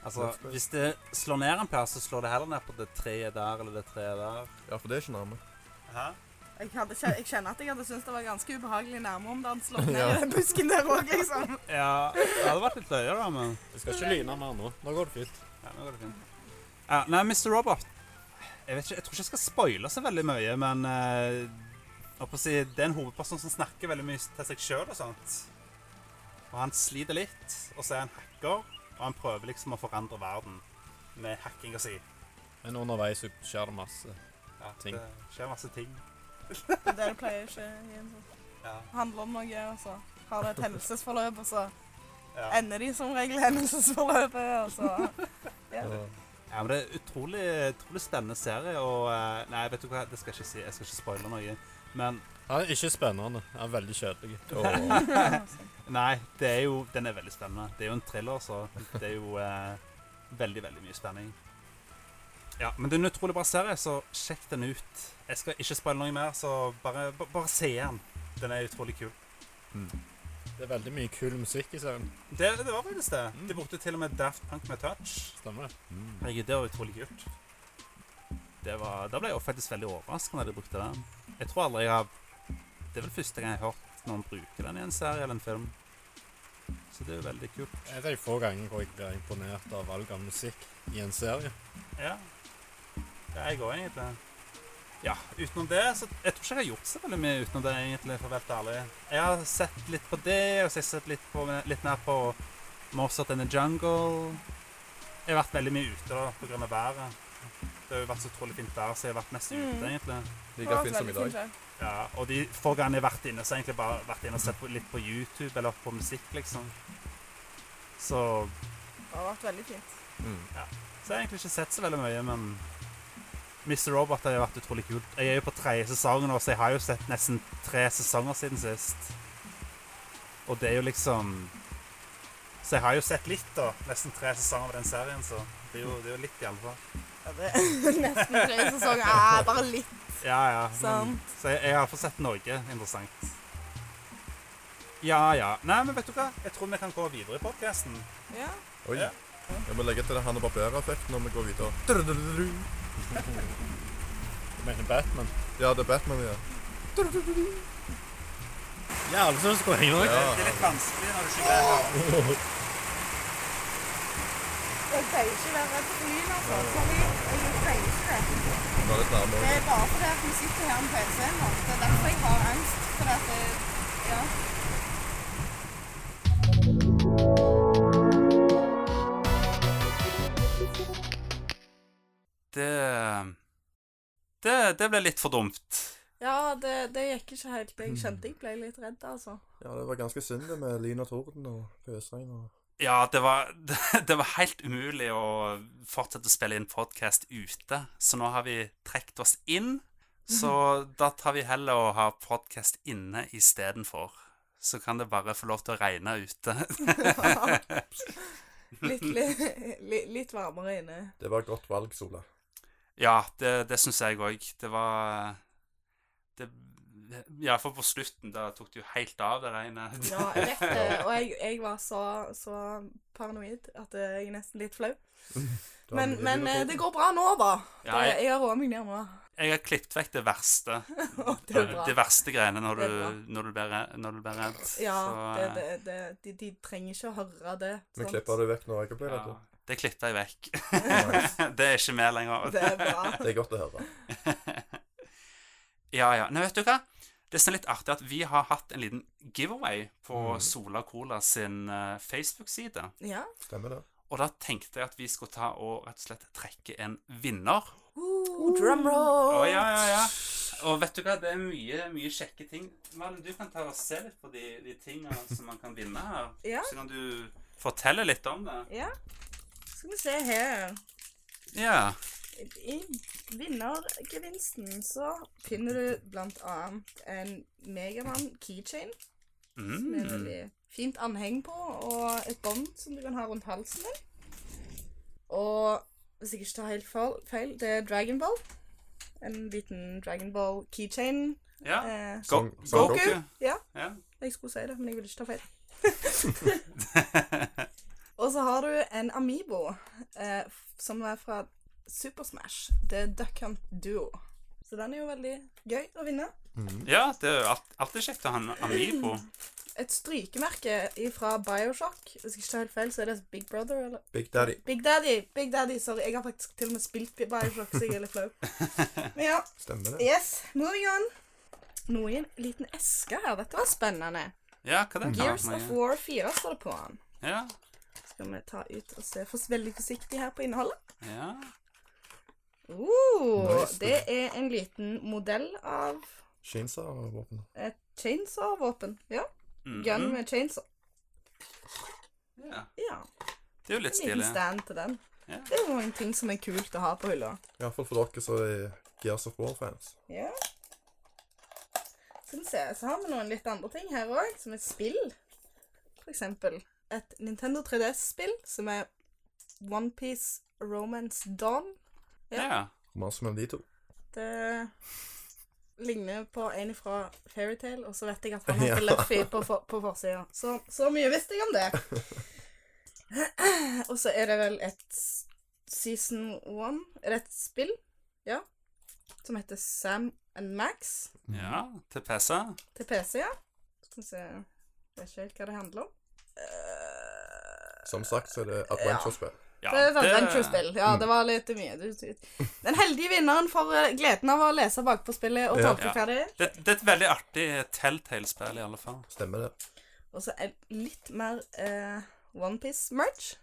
S1: Altså, hvis det slår ned en plass, så slår det heller ned på det treet der eller det treet der.
S2: Ja, for det er ikke nærme.
S1: Hæ?
S3: jeg, hadde, kje- jeg kjenner at jeg hadde syntes det var ganske ubehagelig nærme om det hadde
S2: [laughs]
S3: slått ned i den busken der òg,
S6: [laughs]
S3: liksom.
S1: Ja, det hadde vært litt løye, da, men
S4: Jeg skal ikke lyne mer nå. Nå går det fint.
S1: ja, nå går det fint. Ja, nei, Mr. Robot Jeg vet ikke, jeg tror ikke jeg skal spoile så veldig mye, men eh, jeg holdt på å si, det er en hovedperson som snakker veldig mye til seg sjøl og sånt. Og han sliter litt, og så er han hacker, og han prøver liksom å forandre verden med hackinga si.
S4: Men underveis så skjer det masse.
S1: Ja, Ja,
S4: Ting.
S1: Det skjer masse ting.
S3: Det er det det pleier å skje i en sånn.
S1: Ja,
S3: Handler om noe, og så
S2: [laughs]
S3: har det et hendelsesforløp, og så
S1: ja.
S3: ender de som regel i hendelsesforløpet, og så ja.
S1: Ja, men Det er utrolig, utrolig spennende serie. og... eh, Nei, vet du hva, det skal jeg ikke si. Jeg skal ikke spoile noe. Men
S4: Han er ikke spennende. Han er veldig
S2: [laughs]
S4: kjedelig.
S1: nei, det er jo, den er veldig spennende. Det er jo en thriller, så det er jo eh, veldig, veldig mye spenning. Ja, Men det er en utrolig bra serie, så sjekk den ut. Jeg skal ikke spoile noe mer, så bare, ba- bare se den. Den er utrolig kul.
S4: Det er veldig mye kul musikk i serien.
S1: Det, det var faktisk det.
S4: Mm.
S1: De brukte til og med Daft Punk med touch.
S4: Stemmer det?
S2: Mm.
S1: Herregud, det var utrolig kult. Det var, da ble jeg jo faktisk veldig overrasket når de brukte den. Jeg tror aldri jeg har Det er vel første gang jeg har hørt noen bruke den i en serie eller en film. Så det er jo veldig kult.
S4: En av de få ganger hvor jeg blir imponert av valg av musikk i en serie.
S1: Ja. Det er jeg òg, egentlig. Ja, utenom det så Jeg tror ikke jeg har gjort så veldig mye utenom det, egentlig, for å være helt ærlig. Jeg har sett litt på det, og så har jeg sett litt, på, litt mer på Mozart in the Jungle. Jeg har vært veldig mye ute da, på grunn av været. Det har jo vært så utrolig fint vær, så jeg har vært mest ute,
S3: Mm.
S1: egentlig.
S2: Like fin som i dag.
S1: Ja, og de få gangene jeg har vært inne, så har jeg egentlig bare vært inne og sett på, litt på YouTube eller på musikk, liksom. Så,
S3: Det har vært veldig fint.
S2: Mm.
S1: så jeg har egentlig ikke sett så veldig mye, men Mr. Robot har jo vært utrolig kult. Jeg er jo på tredje sesongen nå, så jeg har jo sett nesten tre sesonger siden sist. Og det er jo liksom Så jeg har jo sett litt, da. Nesten tre sesonger av den serien, så det er jo, det er jo litt, i alle fall.
S3: Ja,
S6: [laughs]
S3: det er nesten tre sesonger. Ah, bare litt.
S1: Ja, ja. Men,
S3: Sant.
S1: så jeg, jeg har fått sett noe interessant. Ja, ja. Nei, men vet du hva? Jeg tror vi kan gå videre i podkasten.
S3: Ja.
S2: Oi.
S1: Ja.
S2: Jeg må legge til det Hanna Barbera-effekten når vi går videre. Drudududru.
S4: Jeg mener Batman.
S2: Ja, det er Batman, ja.
S4: Ja, alle synes det går
S1: Det er litt vanskelig når du ikke greier det.
S6: Jeg pleier ikke å være redd for lyn, altså. Sorry. Jeg pleier ikke det.
S2: Nå er det
S6: Det
S2: nærmere.
S6: er bare fordi at vi sitter her med PC-en vår. Det er derfor jeg har angst. Fordi at det, ja.
S1: Det, det Det ble litt for dumt.
S3: Ja, det, det gikk ikke helt. Jeg kjente jeg ble litt redd, [laughs] altså.
S2: Ja, det var ganske synd det med lyn og torden og pøsregn og
S1: Ja, det var, [laughs] det, var helt umulig å fortsette å spille inn podkast ute, så nå har vi trukket oss inn. Så
S3: Mhm.
S1: da tar vi heller å ha podkast inne istedenfor. Så kan det bare få lov til å regne ute. [laughs]
S3: litt, litt, litt, litt varmere inne.
S2: Det var et godt valg, Sola.
S1: Ja, det, det syns jeg òg. Det var det, Ja, for på slutten, da tok det jo helt av, det regnet.
S3: Ja, jeg vet det. Og jeg, jeg var så, så paranoid at jeg er nesten litt flau.
S2: Det var
S3: Men,
S2: mye
S3: men
S2: lyn og
S3: eh,
S2: torden.
S3: det går bra nå, da.
S1: Ja,
S3: Det-
S1: jeg,
S3: Jeg har roet meg ned nå. [laughs]
S1: jeg har klippet vekk det verste.
S3: Det er
S1: De
S3: bra.
S1: verste greiene når
S3: Det er bra.
S1: du, når du, blir, re- når du blir redd.
S3: Ja,
S1: Så,
S3: det,
S1: eh,
S3: det, det, de, de trenger ikke å høre det.
S2: Vi
S3: sant?
S2: klipper det vekk når jeg blir redd.
S1: ja, det klippet jeg vekk. [laughs]
S2: Nice.
S1: Det er ikke med lenger.
S3: Det er bra.
S2: Det er godt å høre.
S1: [laughs] Ja, ja. Nei, vet du hva? Det er sånn litt artig at vi har hatt en liten giveaway på
S2: Mm.
S1: Sola Cola sin eh, Facebook-side.
S3: Ja.
S2: Stemmer det.
S1: Og da tenkte jeg at vi skulle ta og rett og slett trekke en vinner.
S3: Uh, drum roll.
S1: Å, ja, ja, ja. Og vet du hva, det er mye, mye kjekke ting. Malin, du kan ta og se litt på de, de tinga som man kan vinne her.
S3: Ja.
S1: Så kan du fortelle litt om det.
S3: Ja. Skal vi se her.
S1: Ja.
S3: I vinnergevinsten så finner du blant annet en Megaman keychain med
S1: Mm.
S3: veldig fint anheng på, og et bånd som du kan ha rundt halsen din. Og hvis jeg ikke tar helt feil- feil, det er Dragon Ball. En liten Dragon Ball keychain.
S1: ja.
S3: Eh,
S1: Go
S2: Som- som
S1: Goku.
S3: Goku. Ja,
S1: Ja.
S3: jeg skulle si det, men jeg ville ikke ta feil. [laughs] Og så har du en Amibo, eh, f- som er fra Super Smash. Det er Duck Hunt Duo. Så den er jo veldig gøy å vinne.
S1: ja, det er jo alt- alltid kjekt å ha en Amibo.
S3: Et strykemerke fra Bioshock. Hvis jeg ikke tar helt feil, så er det Big Brother, eller
S2: Big Daddy.
S3: Big Daddy! Big Daddy, Sorry, jeg har faktisk til og med spilt Bioshock, så jeg er litt flau. Men ja,
S2: Stemmer det.
S3: yes, moving on. Noe i en liten eske her. Dette var spennende.
S1: Ja, hva det kan være
S3: Gears
S1: for
S3: of
S1: noe?
S3: War 4 står det på den.
S1: Ja.
S3: Skal vi ta ut og se for veldig forsiktig her på innholdet.
S1: ja.
S3: Uh,
S5: Nice.
S3: det er en liten modell av
S5: Chainsaw-våpen.
S3: et chainsaw-våpen. Ja.
S1: Mhm.
S3: Gun med chainsaw.
S1: Ja.
S3: Ja.
S1: Det er jo litt
S3: En liten
S1: stilig.
S3: stand til den.
S1: Ja.
S3: Det er noen ting som er kult å ha på hylla.
S5: Iallfall for dere som er Gears of War-fans.
S3: Ja. Skal vi se, så har vi noen litt andre ting her òg, som er spill. For eksempel et Nintendo 3DS-spill som er Onepiece Romance Dawn. Ja.
S1: Ja.
S5: Romanse mellom de to.
S3: Det ligner eh, på en fra Fairytale, og så vet jeg at
S5: [laughs]
S3: han heter
S5: Ja.
S3: Luffy på, for, på forsida. Så, så mye visste jeg om det.
S5: [laughs]
S3: og så er det vel et s- season one Er det et spill? Ja. Som heter Sam and Max
S1: ja. Til PC.
S3: til PC, ja. Skal vi se Jeg vet ikke helt hva det handler om. Eh,
S5: Som sagt så er det adventure-spill.
S1: Ja,
S3: det er sånn et adventure-spill. Ja,
S5: Mm.
S3: det var litt mye. Du- du- Den heldige vinneren for eh, gleden av å lese bakpå spillet og
S5: Ja.
S3: tolke hva det er.
S1: Det, det er et veldig artig Telltale-spill, i alle fall.
S5: Stemmer det.
S3: Og så er litt mer eh, OnePiece-merch,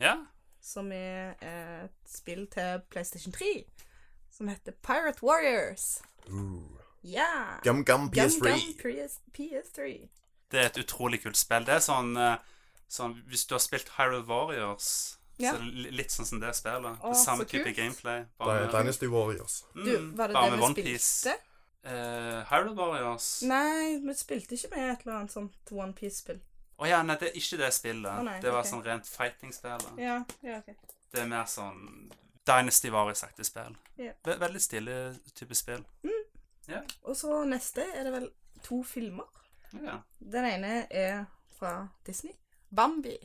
S1: Ja.
S3: som er eh, et spill til PlayStation 3, som heter Pirate Warriors. Ja!
S5: Gum Gum PS3.
S3: Gum PS PS3.
S1: Det er et utrolig kult spill. Det er sånn, eh, sånn Hvis du har spilt Hyrule Warriors,
S3: Ja.
S1: så er det li- litt sånn som det spillet.
S3: Å,
S1: det samme
S3: så
S1: type
S3: kult.
S1: gameplay.
S5: Di- Dynasty Warriors.
S1: mm,
S3: Du, var det
S1: bare
S3: det
S1: med
S3: vi
S1: One
S3: spilte? Mm.
S1: Piece. Eh, Hyrule Warriors Å
S3: Nei, vi spilte ikke med et eller annet sånt OnePiece-spill.
S1: ja, nei, det er ikke det spillet.
S3: Å, nei,
S1: det var
S3: ok.
S1: sånn rent fighting-spill.
S3: Ja, ja, ok.
S1: Det er mer sånn Dynasty Warriors-aktig spill.
S3: Ja.
S1: Ve- Veldig stilig type spill.
S3: Og så neste er det vel to filmer.
S1: Ja.
S3: Den ene er fra Disney. Bambi.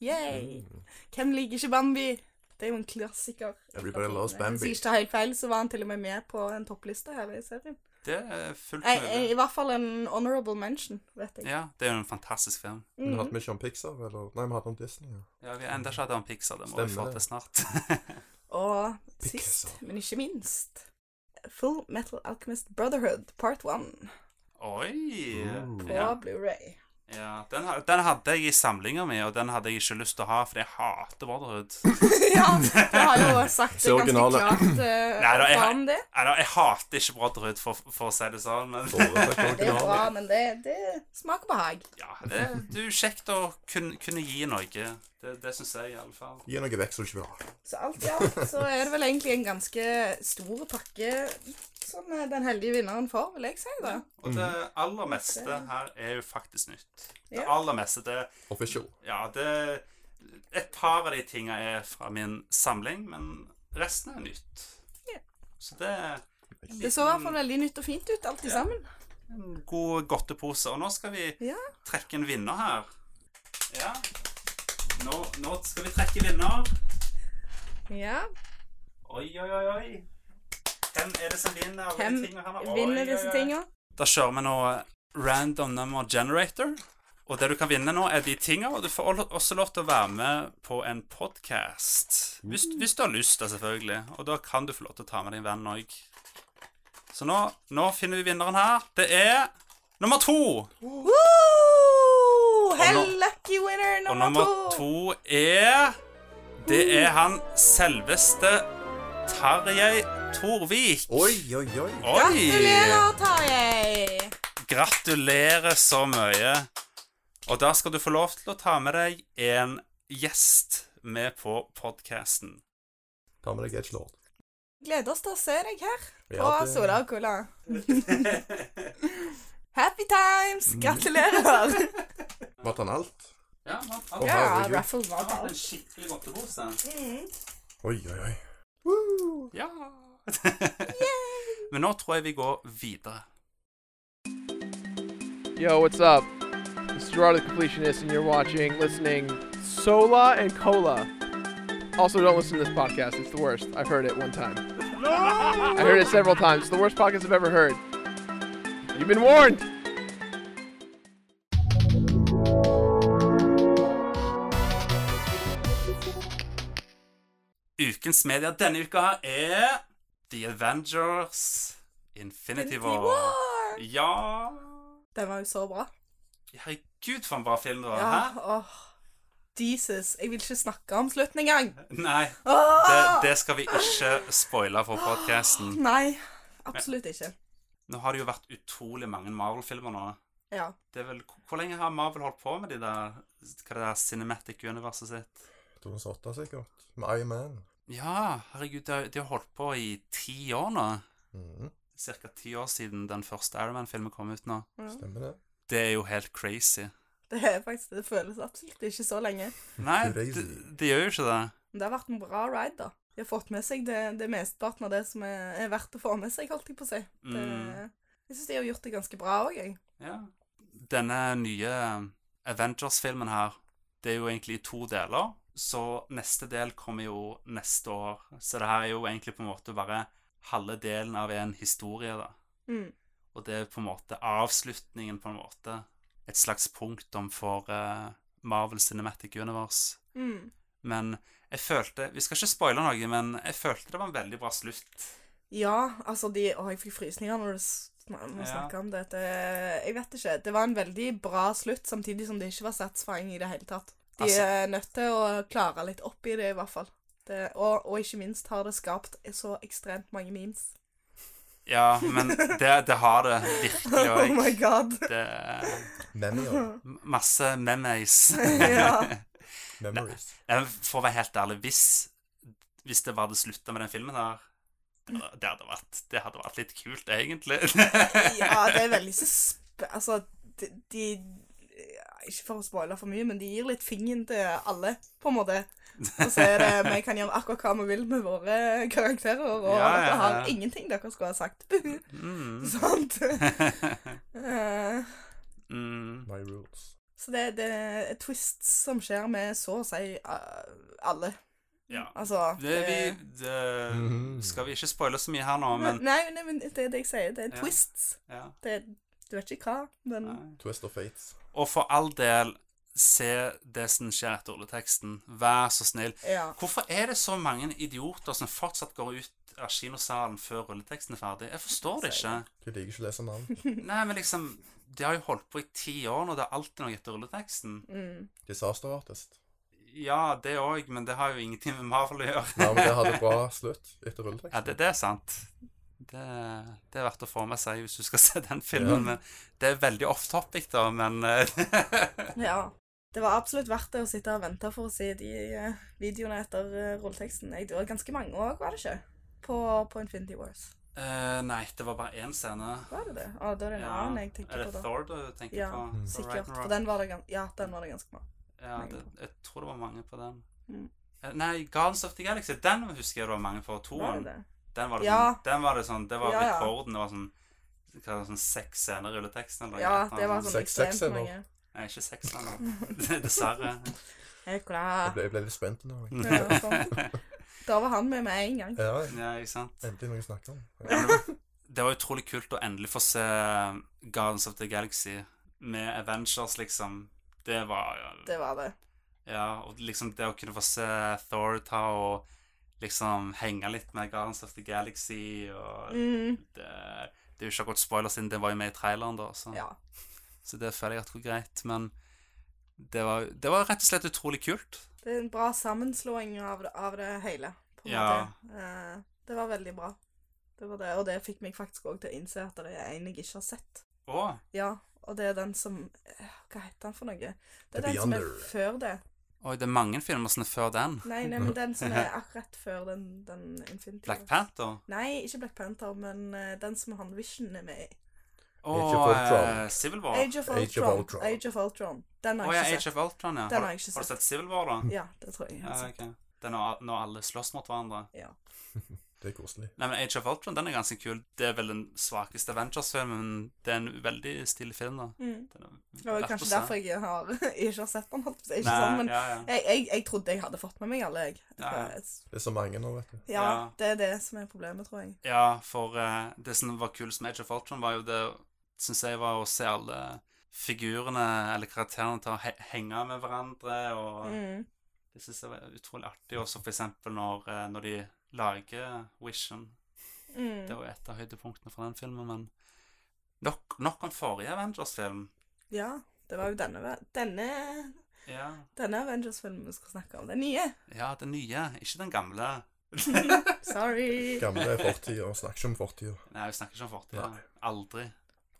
S3: Yay!
S5: Mm.
S3: Hvem liker ikke Bambi? Det er jo en klassiker.
S5: Everybody loves
S3: Hvis jeg
S5: Bambi.
S3: ikke tar helt feil, så var han til og med med på en toppliste her i serien.
S1: Det er fullt
S3: Nei, eh,
S1: mulig.
S3: I hvert fall en honorable mention, vet jeg.
S1: Ja, det er jo en fantastisk film.
S5: Men
S3: Mhm.
S5: hadde vi ikke om Pixar, eller? Nei, vi hadde om Disney.
S3: [laughs]
S5: Ja.
S1: Ja, Vi har enda ikke hatt en Pixar. Det må vi
S5: Stemmer
S1: få
S5: det.
S1: til snart. [laughs]
S3: Og
S5: Picasso.
S3: sist, men ikke minst Full Metal Alchemist Brotherhood Part 1
S1: Oi!
S5: Oh.
S3: på
S1: Ja.
S3: Blu-ray. [laughs]
S1: Ja, den, ha- den hadde jeg i samlinga mi, og den hadde jeg ikke lyst til å ha, for jeg hater Brotherhood.
S3: ja, jeg har jo
S1: [laughs]
S3: sagt det
S5: Så
S3: ganske
S5: originale.
S3: klart eh,
S1: Nei, da, jeg-
S3: fra om det.
S1: Nei da, jeg hater ikke Brotherhood, for, for å si det sånn, men
S5: Foretrekk
S3: Det er
S5: originalen.
S3: bra, men det, det smaker behag.
S1: ja, det, det er jo kjekt å kunne, kunne gi noe. Det, det syns jeg, i alle fall.
S5: Gi noe vekk som du ikke vil ha.
S3: Så alt i alt så er det vel egentlig en ganske stor pakke som eh, den heldige vinneren får, vil jeg si. da.
S1: Og det aller meste her er jo faktisk nytt. Det
S3: Ja.
S1: aller meste, det
S5: Official.
S1: Ja, det Et par av de tinga er fra min samling, men resten er nytt.
S3: Ja.
S1: Så det er en
S3: Det så i hvert fall
S1: liten-
S3: veldig nytt og fint ut, alt i sammen.
S1: en god godtepose. Og nå skal vi
S3: Ja.
S1: trekke en vinner her. Ja. Nå, nå skal vi trekke vinner.
S3: Ja,
S1: Oi, oi, oi, oi. Hvem er det som vinner alle
S3: Hvem
S1: de tingene her? nå? Oi,
S3: Vinner
S1: oi,
S3: disse
S1: oi.
S3: tinga.
S1: Da kjører vi nå random number generator. Og det du kan vinne nå, er de tinga, og du får al- også lov til å være med på en podkast. Hvis,
S3: Mm.
S1: hvis du har lyst, da, selvfølgelig. Og da kan du få lov til å ta med din venn òg. Så nå, nå finner vi vinneren her. Det er nummer to.
S3: Woo! Hell
S1: Og nå-
S3: lucky winner
S1: Og
S3: nummer,
S1: nummer
S3: to.
S1: to
S3: Mm.
S1: er Det er han selveste Tarjei Torvik.
S5: Oi, oi, oi.
S3: Gratulerer, Tarjei.
S1: Gratulerer så mye. Og da skal du få lov til å ta med deg en gjest med på podkasten.
S5: Ta med deg Edge Lord.
S3: Gleder oss til å se deg her på
S5: Ja, det-
S3: Sola
S1: [laughs]
S3: og Cola. Happy times! Gratulerer.
S5: Vant han alt?
S1: Ja, man
S5: Å,
S1: har
S3: Ja,
S5: herregud.
S3: raffle var på alt.
S1: en skikkelig godtepose.
S5: Oi, oi, oi.
S1: [laughs] Ja. Men nå tror jeg vi går videre.
S7: Yo, what's up? This is Gerard the Completionist, and you're watching, listening Sola and Cola. Also, don't listen to this podcast. It's the worst. I've heard it one time. I heard it several times. It's the worst podcast I've ever heard. You've been warned.
S1: Ukens media denne uka er The Avengers Infinity War.
S3: War.
S1: Ja
S3: Den var jo så bra.
S1: Herregud, for en bra film det var.
S3: Ja,
S1: Hæ?
S3: åh. Jesus, jeg vil ikke snakke om slutten engang.
S1: Nei, det,
S3: Åh!
S1: det skal vi ikke spoile for podcasten.
S3: Nei, absolutt ikke.
S1: Nå har det jo vært utrolig mange Marvel-filmer nå.
S3: Ja.
S1: Det er vel, hvor lenge har Marvel holdt på med de der, hva det der cinematic-universet sitt?
S5: 2008 sikkert. Med Iron Man.
S1: Ja, herregud, de har, de har holdt på i ti år nå.
S5: Mhm,
S1: Cirka ti år siden den første Iron Man-filmen kom ut nå.
S5: Stemmer det.
S1: Det er jo helt crazy.
S3: Det er faktisk, det føles absolutt ikke så lenge.
S1: Nei, de,
S5: Crazy.
S1: de gjør jo ikke det.
S3: Men det har vært en bra ride, da. De har fått med seg det, det mesteparten av det som er, er verdt å få med seg, holdt jeg på å si. Det,
S1: Mm.
S3: jeg syns de har gjort det ganske bra òg, jeg.
S1: Ja. Denne nye Avengers-filmen her, det er jo egentlig i to deler. Så neste del kommer jo neste år. Så det her er jo egentlig på en måte bare halve delen av en historie, da.
S3: Mm.
S1: Og det er på en måte avslutningen, på en måte. Et slags punktum for eh, Marvel Cinematic Universe.
S3: Mm.
S1: Men jeg følte Vi skal ikke spoile noe, men jeg følte det var en veldig bra slutt.
S3: Ja, altså de Å, jeg fikk frysninger når du snakker
S1: Ja.
S3: om det. det. Jeg vet ikke. Det var en veldig bra slutt, samtidig som det ikke var satisfying i det hele tatt. De
S1: Altså-
S3: er nødt til å klare litt opp i det, i hvert fall. Det, og, og ikke minst har det skapt så ekstremt mange memes.
S1: Ja, men det, det har det
S3: [laughs]
S1: virkelig. Og
S3: Oh my
S1: jeg, [laughs]
S3: god.
S1: det er
S3: [laughs]
S5: Memory.
S1: masse memes.
S3: ja.
S5: Memories.
S1: Jeg- For å være helt ærlig, hvis, hvis det bare hadde slutta med den filmen her det hadde, vært, det hadde vært litt kult, egentlig.
S3: ja, det er veldig susp... Altså, de, de ja, Ikke for å spoile for mye, men de gir litt fingeren til alle, på en måte. Og så er det Vi kan gjøre akkurat hva vi vil med våre karakterer, og
S1: Ja, ja, ja.
S3: dere har ingenting dere skulle ha sagt. [laughs] Buhu.
S1: Mm.
S3: Sant? Eh,
S1: [laughs] Mm.
S5: My rules.
S3: Så det, det er twists som skjer med så å si eh, alle.
S1: Ja.
S3: Altså
S1: Det, vi, det skal vi ikke spoile så mye her nå, men
S3: Nei, nei, men det er det jeg sier. Det er
S1: Ja.
S3: twists.
S1: ja.
S3: Det, du vet ikke hva, men
S1: Nei.
S5: Twist of fates.
S1: Og for all del, se det som skjer etter ordleteksten. Vær så snill.
S3: ja.
S1: Hvorfor er det så mange idioter som fortsatt går ut av kinosalen før rulleteksten er ferdig? Jeg forstår det ikke.
S5: Du liker ikke å lese navn.
S1: Nei, men liksom De har jo holdt på i ti år nå, det er alltid noe etter rulleteksten.
S3: Mm.
S5: Disaster artist.
S1: Ja, det òg, men det har jo ingenting med Marvel å gjøre.
S5: Nei, men det hadde bra slutt etter
S1: Ja,
S5: rulleteksten.
S1: det, det er sant. Det, det er verdt å få med seg hvis du skal [laughs] se den filmen. Men det er veldig off topic, da, men [laughs] eh,
S3: Ja. Det var absolutt verdt det å sitte og vente for å se de eh, videoene etter eh, rulleteksten. Jeg- Det var ganske mange òg, var det ikke? På, på Infinity Wars.
S1: eh, Nei, det var bare én scene.
S3: Var det det? Å, da er det en annen jeg tenker
S1: er
S3: på,
S1: det
S3: da.
S1: Thor du tenker
S3: Ja,
S1: på?
S5: Mm.
S1: Thor
S3: Sikkert.
S1: Ragnarok.
S3: For den var det, gan- ja, den var det ganske mange.
S1: Ja,
S3: mange
S1: det, jeg tror det var mange på den.
S3: Mm.
S1: Eh, Nei, Guardians of the Galaxy, den husker jeg det var mange på.
S3: Var det
S1: Toen.
S3: det?
S1: Den var det,
S3: Ja.
S1: sånn, den var det sånn Det var
S3: Ja, ja.
S1: rekorden. Det var sånn hva var det, sånn seks scener i rulleteksten eller
S3: Ja,
S1: noe
S3: det var
S1: sånt.
S3: sånn
S5: Seks- seks
S3: ekstremt
S5: scener.
S3: mange.
S1: Nei, ikke seks lenger. [laughs] Dessverre.
S3: [laughs] Helt
S5: Jeg
S3: klart.
S5: ble, jeg ble litt spent nå. jeg.
S3: Ja, sånn. Da var han med med en gang.
S5: Ja,
S1: [laughs] Ja, ikke sant.
S5: endelig noe å snakke om. Ja.
S1: Det var utrolig kult å endelig få se Guardians of the Galaxy med Avengers, liksom. Det var
S3: Det var det.
S1: Ja, og liksom det å kunne få se Thor ta og liksom henge litt med Guardians of the Galaxy og
S3: Mm,
S1: det, det er jo ikke akkurat spoiler siden det var jo med i traileren, da, så,
S3: ja.
S1: så det føler jeg at går greit. Men det var, det var rett og slett utrolig kult.
S3: Det er en bra sammenslåing av det, av det hele, på en
S1: Ja.
S3: måte. Eh, det var veldig bra. Det var det, og det fikk meg faktisk òg til å innse at det er en jeg ikke har sett.
S1: Å,
S3: Ja, og det er den som eh, Hva heter den for noe? Det
S5: The
S3: er den som er
S5: Beyonder.
S3: før det.
S1: oi, det er mange filmer som er før den.
S3: Nei, nei, men den som er akkurat før den, den Infinity.
S1: Black
S3: War.
S1: Panther.
S3: Nei, ikke Black Panther, men eh, den som han Vision er med i.
S1: Og
S5: of Ultron.
S1: eh, Civil War.
S3: Age of
S5: Age of
S3: Ultron.
S5: Ultron.
S3: Age of Ultron. Den
S1: Å
S3: har
S1: ja,
S3: jeg
S1: Age
S3: ikke sett.
S1: of Ultron, ja.
S3: Den har
S1: Har,
S3: jeg ikke
S1: har du
S3: sett.
S1: sett Civil War, da?
S3: Ja, det tror jeg. jeg
S1: Ja,
S3: har sett.
S1: ok. Den er når alle slåss mot hverandre.
S5: Det er koselig.
S1: Nei, men Age of Ultron den er ganske kul. Det er vel den svakeste Avengers-filmen, men det er en veldig stilig film, da.
S3: Mm.
S1: Den er
S3: Det var
S1: verdt å
S3: kanskje
S1: se.
S3: derfor jeg har, [laughs] ikke har sett den. holdt på å si. Ikke
S1: Nei,
S3: sånn, men
S1: ja, ja.
S3: jeg, jeg, jeg trodde jeg hadde fått med meg alle, jeg. Eh,
S1: Ja, ja.
S5: Det er så mange nå, vet du.
S3: Ja,
S1: Ja.
S3: det er det som er problemet, tror jeg.
S1: ja, for eh, det som var kult med Age of Ultron, var jo det synes jeg var å se alle figurene eller karakterene til å he henge med hverandre, og
S3: Mm.
S1: det syns jeg var utrolig artig. Også for eksempel når, eh, når de lager Vision. Det
S3: Mm.
S1: var jo et av høydepunktene fra den filmen, men nok, nok om forrige Avengers-film.
S3: Ja, det var jo denne, denne
S1: Ja.
S3: Denne Avengers-filmen vi skal snakke om, den nye.
S1: ja, den nye, ikke den gamle.
S3: [laughs]
S1: [laughs]
S3: Sorry.
S5: Gamle fortider. Snakker ikke om fortider.
S1: Nei, vi snakker ikke om fortida.
S5: Nei.
S1: Aldri.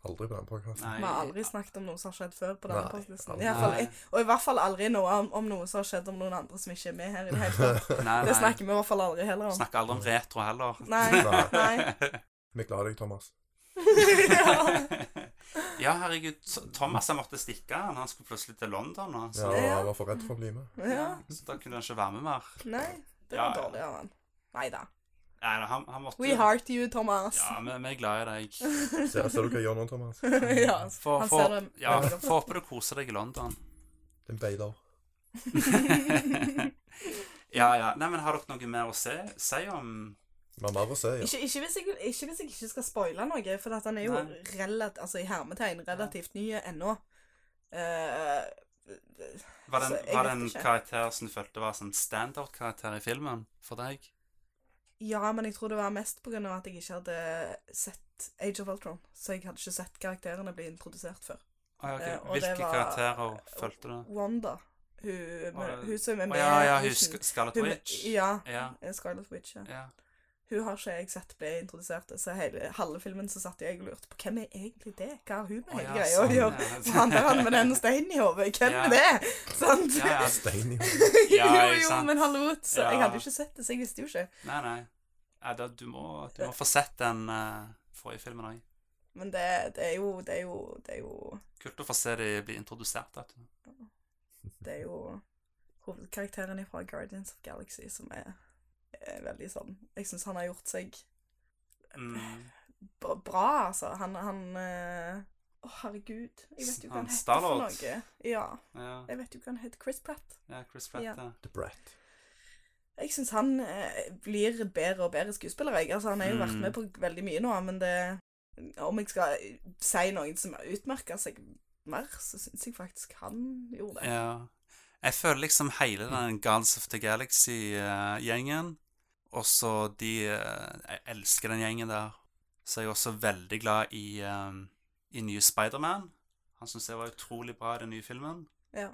S5: Aldri på den podkasten.
S1: Nei.
S3: Vi har aldri snakket om noe som har skjedd før på denne
S5: Nei,
S3: podcasten.
S5: aldri.
S3: I hvert fall- Og i hvert fall aldri noe om, om noe som har skjedd om noen andre som ikke er med her i det hele tatt.
S5: [laughs]
S1: Nei, nei.
S3: Det snakker vi i hvert fall aldri heller om.
S1: Snakker aldri om retro heller.
S3: Nei. Nei.
S5: Vi er glad i deg, Thomas.
S3: ja.
S1: [laughs] ja, herregud. T- Thomas han måtte stikke. han. Han skulle plutselig til London. Og,
S5: Ja,
S1: så,
S5: jeg var for redd for å bli med.
S3: ja.
S1: så da kunne han ikke være med mer.
S3: Nei. Det
S1: Ja,
S3: var
S1: ja.
S3: dårlig av han. Nei da.
S1: Nei, han, han måtte
S3: We heart you, Thomas.
S1: Ja, vi, vi er glad i deg.
S5: Ser, ser du hva jeg gjør nå, Thomas?
S3: [laughs] ja.
S1: Få-
S3: Han
S1: få-
S3: ser det.
S1: Ja, Få håpe du koser deg i London.
S5: Den beider.
S1: ja, ja. Nei, men har dere noe mer å se, si om
S5: Vi har mer å se, ja.
S3: Ikke, ikke, hvis jeg, ikke hvis jeg ikke skal spoile noe, for at han er jo
S1: Nei.
S3: relat, altså, i hermetegn relativt ny ennå. Eh,
S1: Var det,
S3: Altså,
S1: en-
S3: jeg
S1: var det
S3: vet
S1: en
S3: ikke.
S1: karakter som du følte var sånn standout-karakter i filmen for deg?
S3: ja, men jeg tror det var mest pga. at jeg ikke hadde sett Age of Ultron. Så jeg hadde ikke sett karakterene bli introdusert før.
S1: Ah, ok.
S3: Eh, og det
S1: Hvilke
S3: var-
S1: karakterer følte du?
S3: Wanda, hun,
S1: Å,
S3: hun som er
S1: Å
S3: med
S1: ja, ja,
S3: hun-
S1: husk Scarlet
S3: hun-
S1: Witch.
S3: Ja,
S1: Ja,
S3: Scarlet Witch. Ja.
S1: ja.
S3: Hun har ikke jeg sett bli introdusert, så hele halve filmen så satt jeg og lurte på hvem er egentlig det? Hva har hun med
S1: Å,
S3: hele
S1: ja,
S3: greia
S1: sånn,
S3: å gjøre?
S1: ja.
S3: Så handler han med den steinen i hodet. Hvem
S1: Ja.
S3: er det?
S1: [laughs]
S3: Sant? [laughs]
S1: Ja, ja.
S5: Stein i hodet.
S1: Ja,
S3: jo,
S1: ikke
S3: jo,
S1: sant?
S3: men hallo. Så
S1: Ja.
S3: Jeg hadde jo ikke sett det, så jeg visste jo ikke.
S1: Nei, nei. Ja, da, du, må, du må få sett den eh, forrige filmen òg.
S3: Men det, det er jo Det er jo Det er jo,
S1: Kult å få se de bli introdusert. Vet du.
S3: det er jo hovedkarakteren fra Guardians of Galaxy som er, er veldig sånn Jeg syns han har gjort seg
S1: Mm.
S3: b- bra, altså. Han, han eh, Å, herregud. Jeg vet jo hva
S1: Han
S3: han heter for
S1: Star-Lord.
S3: noe. Ja,
S1: Ja,
S3: jeg vet jo hva han heter. Chris Pratt.
S1: ja, Chris Pratt,
S3: Ja.
S1: ja.
S5: The Brat.
S3: Jeg syns han eh, blir bedre og bedre skuespiller, jeg. Altså, han har jo vært
S1: Mm.
S3: med på veldig mye nå, men det Om jeg skal eh, si noen som utmerker seg mer, så syns jeg faktisk han gjorde det.
S1: Ja. Jeg føler liksom hele den Guns of the Galaxy-gjengen, og så de eh, Jeg elsker den gjengen der. Så er jeg også veldig glad i, um, i nye Spiderman. Han syns jeg var utrolig bra i den nye filmen.
S3: Ja.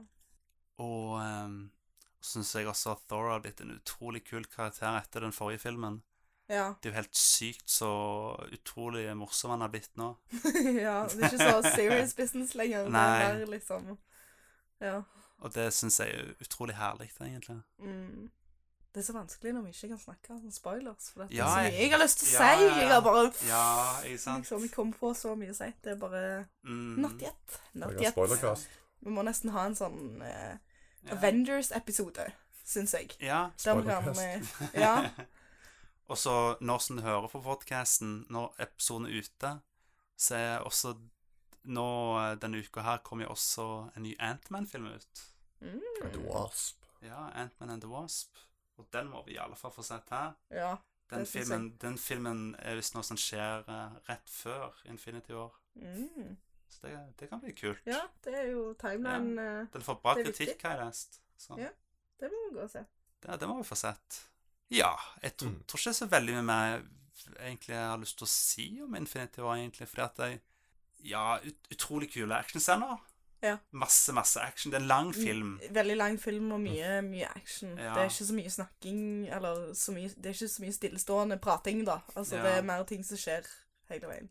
S1: Og um, syns jeg også at Thor har blitt en utrolig kul karakter etter den forrige filmen.
S3: Ja. [laughs]
S1: Det er jo helt sykt så utrolig morsom han har blitt nå.
S3: ja. Det er ikke så serious business lenger. Det
S1: Nei.
S3: er mer liksom Ja.
S1: Og det syns jeg er utrolig herlig, egentlig.
S3: Mm. Det er så vanskelig når vi ikke kan snakke om spoilers, for det er
S1: Ja,
S3: så
S1: jeg-
S3: mye jeg har lyst til å
S1: Ja,
S3: si.
S1: ja, ja.
S3: Jeg har bare
S1: Ja, ikke sant?
S3: liksom, Jeg kom på så mye seint. Det er bare
S1: Mm.
S3: Not yet. Not
S5: Jeg har
S3: yet.
S5: spoilercast.
S3: Vi må nesten ha en sånn eh,
S1: Ja.
S3: Avengers-episode, syns jeg.
S1: ja.
S3: Der vi kan eh, Ja.
S1: [laughs] Og så når som du hører på podcasten, når episoden er ute, så er også nå eh, denne uka her kommer jo også en ny Ant-Man-film ut.
S5: The
S3: Mm.
S5: Wasp.
S1: Ja, Ant-Man and the Wasp. Og den må vi i alle fall få sett her.
S3: ja.
S1: Den
S3: Det synes
S1: filmen, den filmen er visst noe som skjer eh, rett før Infinity War.
S3: Mm.
S1: Så det, det kan bli kult.
S3: ja, det er jo timeline eh,
S1: Den får bra
S3: Det er viktig.
S1: kritikk, har jeg lest. Så
S3: Ja. Det må vi gå og se.
S1: det, det må vi få sett. Ja, jeg tror,
S5: Mm.
S1: tror ikke så veldig mye mer egentlig jeg har lyst til å si om Infinity War, egentlig, fordi at jeg Ja, ut, utrolig kule actionscener.
S3: Ja. Mm.
S1: Masse, masse action. Det er en lang film.
S3: Veldig lang film og mye, mye action.
S1: Ja.
S3: Det er ikke så mye snakking, eller så mye Det er ikke så mye stillestående prating, da. Altså,
S1: Ja.
S3: det er mer ting som skjer hele veien.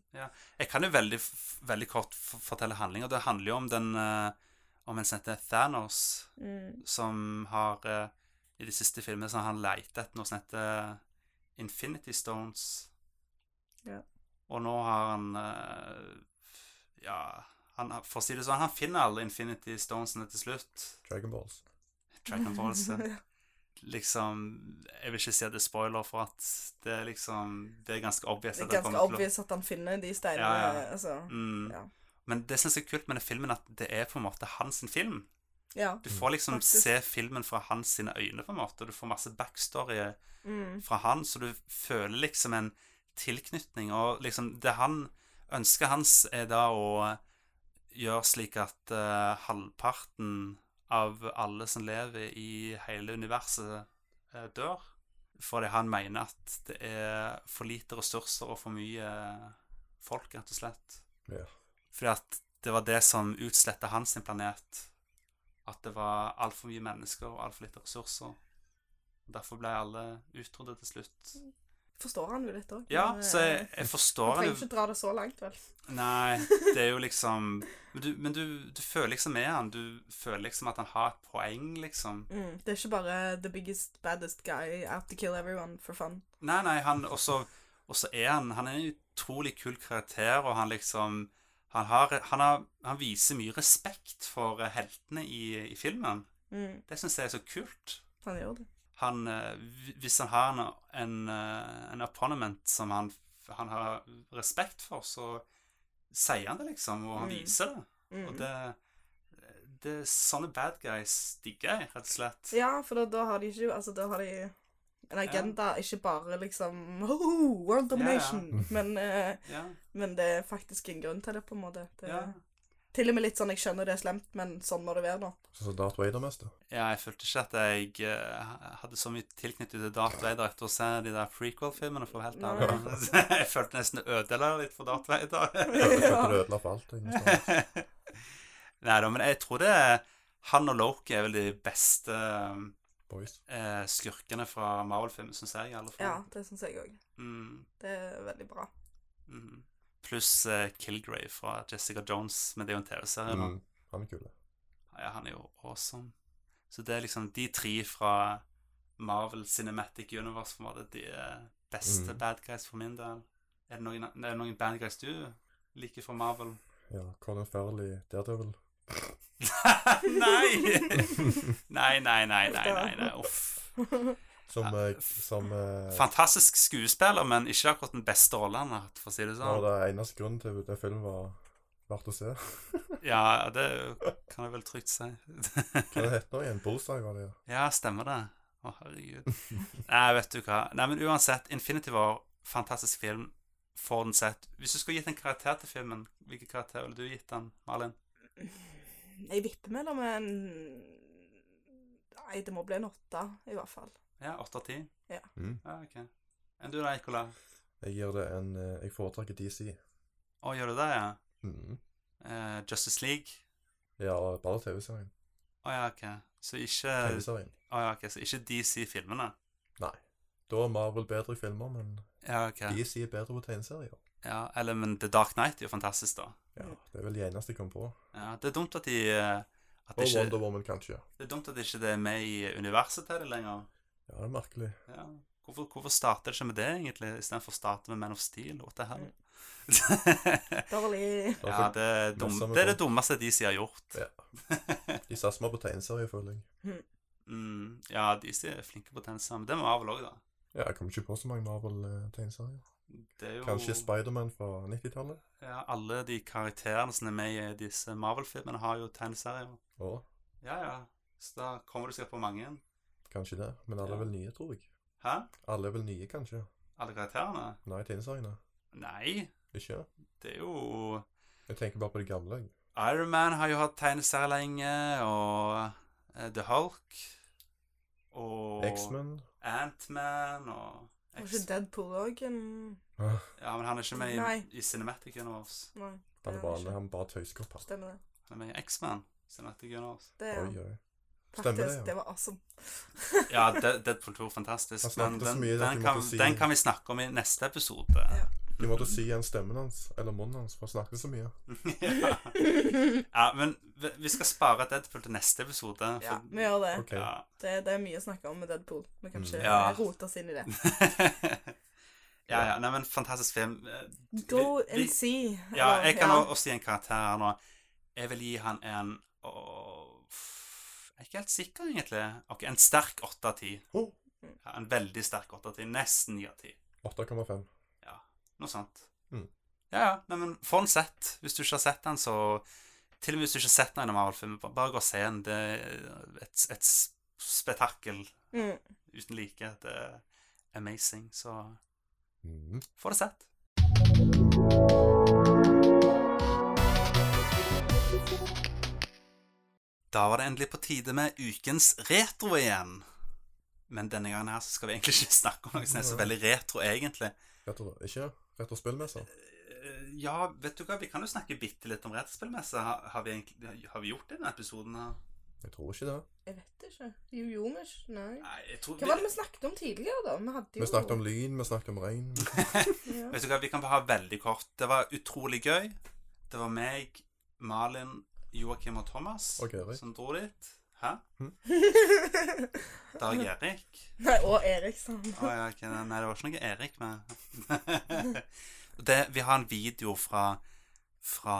S1: Jeg kan jo veldig, f- veldig kort f fortelle handlinga. Det handler jo om den eh, Om en som heter Thanos,
S3: Mm.
S1: som har eh, I de siste filmene så har han leita etter noe som heter eh, Infinity Stones.
S3: Ja.
S1: Og nå har han eh, Ja, han, har- for å si det sånn, han finner alle Infinity Stonesene til slutt.
S5: Dragon Balls.
S1: Track and Force.
S3: [laughs]
S1: Liksom Jeg vil ikke si at det er spoiler, for at det er liksom Det er ganske obvious.
S3: Det
S1: at han
S3: er ganske
S1: kommer til å-
S3: obvious at han finner de steinene.
S1: Ja, ja.
S3: Altså.
S1: Mm.
S3: Ja.
S1: Men det syns jeg er kult med den filmen, at det er på en måte hans sin film.
S3: Ja.
S1: Du får liksom
S3: Mm. Faktisk.
S1: se filmen fra hans sine øyne, på en måte. og Du får masse backstory
S3: Mm.
S1: fra han, så du føler liksom en tilknytning. Og liksom det han Ønsket hans er da å gjøre slik at eh, halvparten av alle som lever i hele universet, eh, dør. Fordi han mener at det er for lite ressurser og for mye folk, rett og slett.
S5: Ja.
S1: Fordi at det var det som utsletta hans sin planet. at det var altfor mye mennesker og altfor lite ressurser. Derfor ble alle utryddet til slutt.
S3: Forstår han jo litt òg.
S1: Ja, så jeg, jeg forstår
S3: Trenger
S1: han
S3: ikke
S1: jo
S3: dra det så langt, vel.
S1: Nei, det er jo liksom Men du, men du, du føler liksom med han. Du føler liksom at han har et poeng, liksom.
S3: Mm. Det er ikke bare the biggest, baddest guy out to kill everyone for fun.
S1: Nei, nei, han Og så og så er han Han er en utrolig kul karakter, og han liksom Han, har, han, har, han viser mye respekt for eh, heltene i, i filmen.
S3: Mm.
S1: Det syns jeg er så kult.
S3: Han gjør det.
S1: han, eh, hvi- hvis han har en, en, eh, en opponent som han, han har respekt for, så sier han det, liksom, og han
S3: Mm.
S1: viser det.
S3: Mm.
S1: Og det, det er sånne bad guys digger jeg, rett og slett.
S3: Ja, for da, da har de ikke Altså, da har de en agenda, ikke bare liksom oh, World domination, Men, eh,
S1: Ja,
S3: men det er faktisk en grunn til det, på en måte. Det,
S1: ja.
S3: Til og med litt sånn Jeg skjønner det er slemt, men sånn må det være, da.
S2: Sånn som
S1: [laughs]
S2: Darth Vader-mester.
S1: ja, jeg følte ikke at jeg eh, hadde så mye tilknyttet til Darth Vader etter å se de der prequel-filmene, for å være helt ærlig. [laughs] Jeg følte nesten det ødela litt for Darth
S3: [laughs]
S1: Vader.
S2: Jeg følte det ødela for alt. sånn, jeg, nesten.
S1: [laughs] Nei da, men jeg tror det er han og Loki er vel de beste
S2: Boys.
S1: eh, skurkene fra Marvel-filmen, syns jeg. i alle fall.
S3: Ja, det syns jeg òg.
S1: Mm,
S3: Det er veldig bra. [laughs]
S1: mm. Pluss eh, Kilgrave fra Jessica Jones, men det er jo en TV-serie. nå.
S2: Mm. Han er kul.
S1: Ja, han er jo awesome. Så det er liksom de tre fra Marvel Cinematic Universe på en måte, de er beste
S2: Mm.
S1: bad guys for min del. Er det noen, er det noen bad guys du liker fra Marvel?
S2: Ja, Colin Farrell i Daredevil.
S1: nei! nei! Nei, nei, nei, nei, nei, uff.
S2: Som, eh, som eh,
S1: Fantastisk skuespiller, men ikke akkurat den beste rollen han har hatt, for å si det
S2: var
S1: sånn.
S2: det eneste grunnen til at den filmen var verdt å
S1: [laughs]
S2: se.
S1: Ja, det kan jeg vel trygt si.
S2: Hva det het det nå igjen? Bullseye, var det ja.
S1: Ja, stemmer det. Å, herregud. Nei, vet du hva. Nei, men uansett, Infinity War, fantastisk film. For den sett. Hvis du skulle gitt en karakter til filmen, hvilken karakter ville du gitt den, Malin?
S3: Jeg vipper mellom en Nei, det må bli en åtte, i hvert fall.
S1: Ja, åtte av ti?
S2: Mm.
S1: Ja, ok. Enn du da, Nicolai?
S2: Jeg gir det en eh, Jeg foretrekker DC.
S1: Å, gjør du det, ja?
S2: Mm.
S1: Eh, Justice League?
S2: Ja, bare TV-serien.
S1: Å ja, ok. Så ikke
S2: TV-serien.
S1: Å ja, ok, så ikke DC-filmene?
S2: Da er Marvel bedre i filmer, men
S1: Ja, ok.
S2: DC er bedre på tegneserier.
S1: Ja, eller, men The Dark Knight er jo fantastisk, da.
S2: Ja, det er vel de eneste jeg kom på.
S1: Ja, det er dumt at de eh, at
S2: Og
S1: det, ikke,
S2: Wonder Woman, kanskje.
S1: det er dumt at det ikke er med i universet til det lenger.
S2: Ja, det er merkelig.
S1: Ja. Hvorfor, hvorfor starter det ikke med det, egentlig, istedenfor å starte med Man of Steel? What the hell?
S3: Dårlig.
S2: Det er
S1: ja,
S2: for-
S1: det, er dum,
S2: Masse med
S1: det er det
S2: folk.
S1: dummeste DC har gjort.
S2: Ja. De satser mer på tegneserier, føler jeg.
S1: [laughs] Mm, ja, DC er flinke på tennisene, men det må Marvel òg, da.
S2: Ja, jeg kommer ikke på så mange Marvel-tegneserier.
S1: Det er jo
S2: Kanskje Spiderman fra 90-tallet?
S1: ja, Alle de karakterene som er med i disse Marvel-filmene, har jo tegneserier.
S2: Ja,
S1: Ja, ja. Så da kommer du sikkert på mange.
S2: kanskje det. Men
S1: Ja.
S2: alle er vel nye, tror jeg.
S1: Hæ?
S2: Alle er vel nye, kanskje?
S1: Alle karakterene?
S2: Nei, tegneseriene.
S1: Nei,
S2: Ikke?
S1: det er jo
S2: Jeg tenker bare på det gamle. jeg.
S1: Iron Man har jo hatt tegneserier lenge, og eh, The Hulk og
S2: X-Men.
S1: Ant-Man og
S3: Var ikke Deadpool òg en
S1: Ja, men han er ikke med i,
S3: Nei.
S1: i Cinematic Universe.
S3: Nei. det
S2: Han
S3: er
S2: er bare,
S3: ikke.
S2: han bare tøyskopp. her.
S3: Stemmer det.
S1: Han er med i X-Man. Cinematic Universe.
S3: Det er
S2: Oi,
S3: han.
S2: oi. Stemmer det,
S3: faktisk.
S2: ja.
S3: Det var awesome. [laughs]
S1: Ja, De- Deadpool 2 er fantastisk.
S2: Han
S1: Men
S2: snakket så
S1: den,
S2: mye at vi
S1: den,
S2: måtte
S1: kan,
S2: si-
S1: den kan vi snakke om i neste episode.
S3: Ja.
S2: De måtte si igjen stemmen hans, eller munnen hans, for han snakket så mye.
S1: ja. [laughs] ja, men vi vi skal spare Deadpool til neste episode. For,
S3: [laughs] Ja, vi gjør det.
S2: Ok.
S1: Ja.
S3: det. Det er mye å snakke om med Deadpool. Vi kan ikke
S1: Mm. Ja.
S3: eh, rote oss inn i det.
S1: [laughs] ja, ja. Nei, men fantastisk film. Eh,
S3: Go
S1: vi-
S3: and see.
S1: Ja,
S3: Eller,
S1: jeg kan
S3: ja.
S1: o- også gi en karakter her nå. Jeg vil gi han en åh, f- Jeg er ikke helt sikker, egentlig. Ok, En sterk 8 av 10.
S2: Oh.
S1: Ja, en veldig sterk 8 av 10. Nesten 9 av 10.
S2: 8,5.
S1: Noe sånt.
S2: Mm.
S1: Ja, ja. Nei, men få den sett. Hvis du ikke har sett den, så Til og med hvis du ikke har sett den i en Marvel-film, ba- bare gå og se den. Det er et, et s- spetakkel
S3: Mm.
S1: uten like. Det er amazing. Så
S2: Mm.
S1: få det sett. Da var det endelig på tide med ukens retro igjen. Men denne gangen her så skal vi egentlig ikke snakke om noe som er så veldig retro, egentlig.
S2: Rett og, ikke rett og spillmesser.
S1: Eh, Ja, vet du hva, vi kan jo snakke bitte litt om retrospillmesse. Har, har, vi egentlig- har vi gjort det i denne episoden? her?
S2: Jeg tror ikke det.
S3: Jeg vet ikke. Jojomish? Nei.
S1: Nei, jeg tror
S3: Hva var det vi snakket om tidligere, da? Vi hadde jo
S2: Vi snakket om lyn, vi snakket om regn.
S3: ja.
S1: Vet du hva, vi kan bare ha veldig kort. Det var utrolig gøy. Det var meg, Malin, Joakim og Thomas
S2: Og Erik.
S1: som dro dit. Hæ? [laughs] Det var Erik.
S3: Nei, og Eriksson.
S1: Å ja, ok, nei, det var ikke noe Erik med. [laughs] det, vi har en video fra, fra,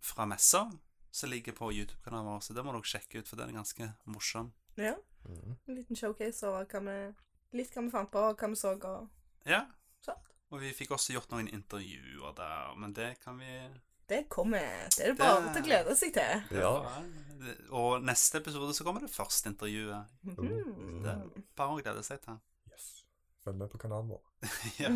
S1: fra messa som ligger på YouTube-kanalen vår, så det må dere sjekke ut, for den er ganske morsom.
S3: Ja.
S2: Mm.
S3: En liten showcase av hva vi Litt hva vi fant på, og hva vi så, og
S1: Ja,
S3: sånt.
S1: og vi fikk også gjort noen intervjuer der, men det kan vi
S3: Det kommer. Det er det bare til å glede seg til.
S2: Ja.
S1: det- Og neste episode så kommer det første intervjuet.
S2: Oh,
S3: Mhm.
S1: Det er bare å glede seg til. [laughs]
S2: Yes. Følg med på kanalen vår.
S1: ja.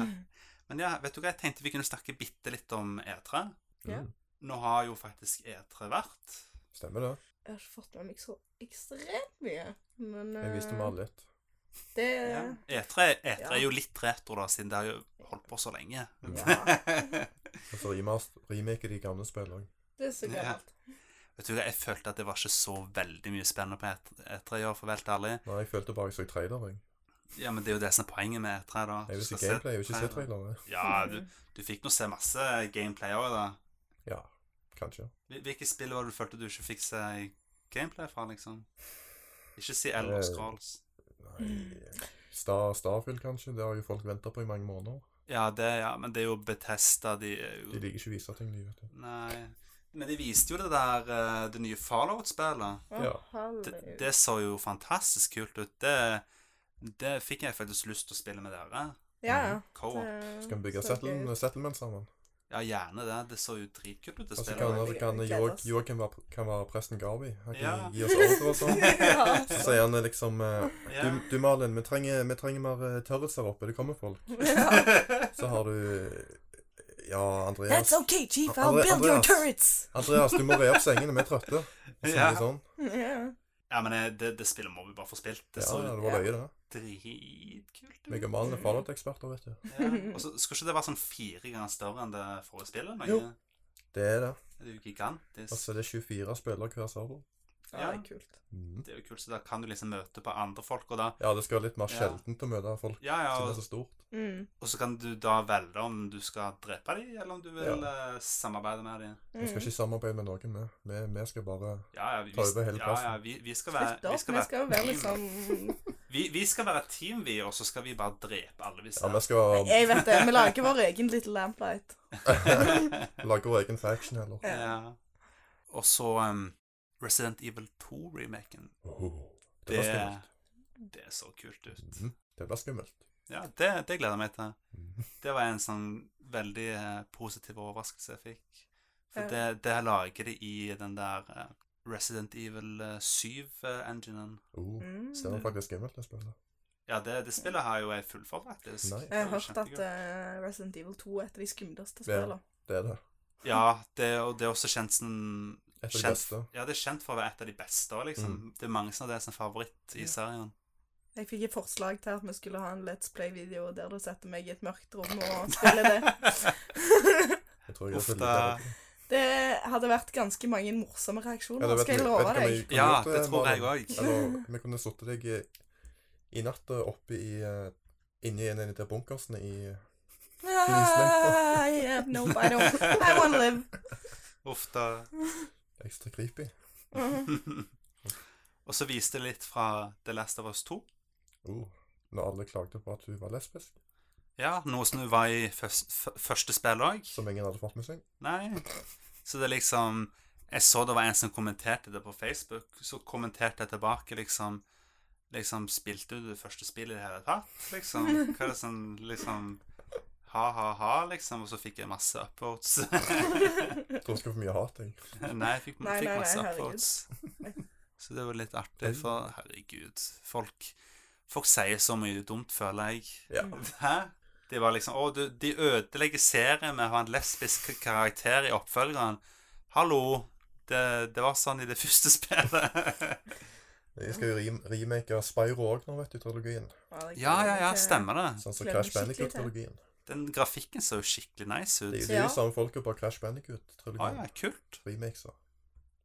S1: Men ja, vet du hva, jeg tenkte vi kunne snakke bitte litt om E3.
S3: Ja.
S2: Mm.
S1: Nå har jo faktisk E3 vært.
S2: Stemmer det.
S3: Jeg har ikke fått med meg så ekstremt mye, men
S2: Jeg viste
S3: eh,
S2: meg litt.
S3: Det
S1: Ja. E E3, E3
S3: Eh. Ja.
S1: er jo litt retro, da, siden det har jo holdt på så lenge.
S2: Og så remast- remake de gamle spillene òg.
S3: Det er så
S1: Ja.
S3: gammelt.
S1: [laughs] Vet du hva, Jeg følte at det var ikke så veldig mye spennende på E E3 E3 i år, for å være helt ærlig.
S2: Nei, jeg følte bare jeg så trailer, jeg.
S1: Ja, Men det er jo det som er poenget med E3. da.
S2: Jeg
S1: Du
S2: vil se
S1: skal se
S2: gameplay, jeg vil ikke se
S1: trailer.
S2: trailere.
S1: Ja, du, du fikk nå se masse gameplay òg, da.
S2: Ja, kanskje.
S1: Hvil- Hvilke spill var det du følte du ikke fikk se gameplay fra, liksom? Ikke si Elder Scrolls.
S2: Nei Star, Starfield, kanskje. Det har jo folk venta på i mange måneder.
S1: Ja, det, ja, men det er jo Betesta, de er
S2: De
S1: jo
S2: liker ikke å vise ting, de, vet du.
S1: Nei. Men de viste jo det der eh, det nye Fallout-spillet.
S3: Å,
S2: Ja.
S3: halleluja.
S1: Det, det så jo fantastisk kult ut. Det, det fikk jeg faktisk lyst til å spille med dere.
S3: Ja, ja.
S1: Co-op.
S2: Skal vi bygge
S3: Så
S2: settle, settlement sammen?
S1: Ja, gjerne det. Det så jo dritkult ut å
S2: Og så
S1: spille
S2: kan,
S1: med.
S2: så kan
S3: Vi gleder
S2: Joak-
S3: oss.
S2: Joakim være, kan være presten Garvey. Han kan
S1: Ja.
S2: gi oss ordre
S1: [laughs]
S2: og sånn.
S3: gøy. [laughs] Ja.
S2: Så sier han liksom eh,
S1: Ja.
S2: Du, du Malin, vi trenger, vi trenger mer eh, tørres her oppe. Det kommer folk. Så har du eh, Ja, Andreas.
S8: That's
S3: sånn.
S8: okay, chief. I'll
S2: Andre-
S8: build your
S2: Andreas.
S8: turrets.
S2: Andreas, du må re opp sengene. Vi er
S1: [laughs]
S2: trøtte. Og så er
S1: Ja.
S2: det sånn.
S3: ja.
S1: [laughs] ja, men eh, det, det spillet må vi bare få spilt. Det
S2: Ja,
S1: så
S2: ja,
S1: jo
S2: det var løye, det.
S1: dritkult
S2: Meg
S1: ut.
S2: og Malin er Fallout-eksperter, vet du.
S1: Ja. Og så skulle ikke det være sånn fire ganger større enn det forrige spillet? Noe?
S2: Jo. Det er det.
S1: Det er jo
S2: Og
S1: gigantisk.
S2: så er det 24 spillere hver server.
S3: ja,
S1: Ja,
S3: det er kult.
S2: Mm.
S1: det er jo kult, så da kan du liksom møte på andre folk, og da
S2: Ja, det skal være litt mer
S1: Ja.
S2: sjeldent å møte folk
S1: Ja, ja,
S2: siden
S1: og
S2: det er så stort.
S3: Mm.
S1: Og så kan du da velge om du skal drepe dem, eller om du vil eh, samarbeide med dem.
S2: Vi
S3: Mm.
S2: skal ikke samarbeide med noen, vi. Vi, vi skal bare
S1: Ja, ja, vi,
S2: Ta over hele
S1: ja,
S2: plassen.
S1: ja, vi, vi, skal være,
S3: Splitt
S1: vi,
S3: opp.
S1: skal
S3: Vi
S1: være,
S3: skal jo være liksom
S1: vi, vi skal være et team, vi, og så skal vi bare drepe alle hvis
S2: Ja, vi
S1: [laughs]
S2: skal
S3: Jeg vet det. Vi lager vår egen Little Lamplight.
S2: [laughs] lage vår egen faction, eller?
S1: ja. Og så em, Resident Evil 2-remaken.
S2: Åh,
S1: Det,
S2: Det blir skummelt.
S1: det er så kult ut.
S2: Mhm, Det blir skummelt.
S1: Ja, det, det gleder jeg meg til. Det var en sånn veldig eh, positiv overraskelse jeg fikk. For
S3: Ja.
S1: det, det her lager det i den der eh, Resident Evil eh, 7-enginen.
S2: Oh,
S3: Mm.
S2: det er faktisk skummelt, det spillet.
S1: Ja, det, det spillet har jo jeg fullført, faktisk.
S2: Nei.
S1: Det
S3: Jeg har
S1: var
S3: hørt at
S1: kjempegøy.
S3: eh, Resident Evil 2 er et av de skumleste
S2: Ja.
S3: spillene.
S2: Det er det.
S1: Ja, det, og det er også kjent som
S2: Et av de
S1: Kjent.
S2: beste. Mm.
S1: Ja, det er kjent for å være et av de beste. også, liksom. Det er mange som har det som favoritt i serien.
S3: Jeg fikk et forslag til at vi skulle ha en Let's Play-video der du setter meg i et mørkt rom og spiller
S1: [laughs]
S3: det. [laughs]
S2: Jeg tror jeg
S1: Uff,
S2: også
S1: det-
S2: liker det.
S3: det hadde vært ganske mange morsomme reaksjoner,
S2: Ja, det vet
S3: skal jeg
S2: vi-
S3: love
S2: vet hva vi
S3: deg.
S2: kunne
S1: Ja,
S2: gjort,
S1: det
S2: eh,
S1: tror jeg
S2: Malin.
S1: òg.
S2: Eller, vi kunne sittet deg i, i natta oppe i eh, Inni en av de der bunkersene i
S3: Ah, I have no, I don't. I wanna live.
S1: Uff da. [laughs]
S2: Ekstra creepy.
S1: og så viste det litt fra The Last of Us 2.
S2: Oh, når alle klagde på at hun var lesbisk,
S1: Ja, noe som var i først, f- første spill òg.
S2: som ingen hadde fått med seg.
S1: Nei. Så det er liksom Jeg så det var en som kommenterte det på Facebook. Så kommenterte jeg tilbake, liksom Liksom, spilte du det første spillet i det hele tatt? Liksom. Hva er det som Liksom Ha, ha, ha, liksom. Og så fikk jeg masse upvotes. [laughs]
S2: Jeg tror jeg skal få mye hat, jeg.
S1: nei, jeg fikk,
S3: Nei,
S1: fikk
S3: nei,
S1: masse
S3: nei,
S1: upvotes. Så det var litt artig, for herregud Folk Folk sier så mye dumt, føler jeg.
S2: Ja.
S1: Hæ? De var liksom Å, du, de ødelegger serien med å ha en lesbisk karakter i oppfølgeren. Hallo! Det, det var sånn i det [laughs] første spillet.
S2: Jeg skal jo rem- remake Spyro òg nå, vet du, trilogien.
S1: [laughs] ja, ja, ja, stemmer det.
S2: Sånn som
S3: Gleder
S2: Crash
S3: meg skikkelig til.
S2: Bandicoot-trilogien.
S1: Den grafikken så jo skikkelig nice
S2: Det er
S1: ut.
S2: jo de
S3: Ja.
S2: samme folka på Crash
S1: Å Ah, ja,
S2: Bandicoot-trilogien.
S1: kult.
S3: Eh,
S2: Remakes. da.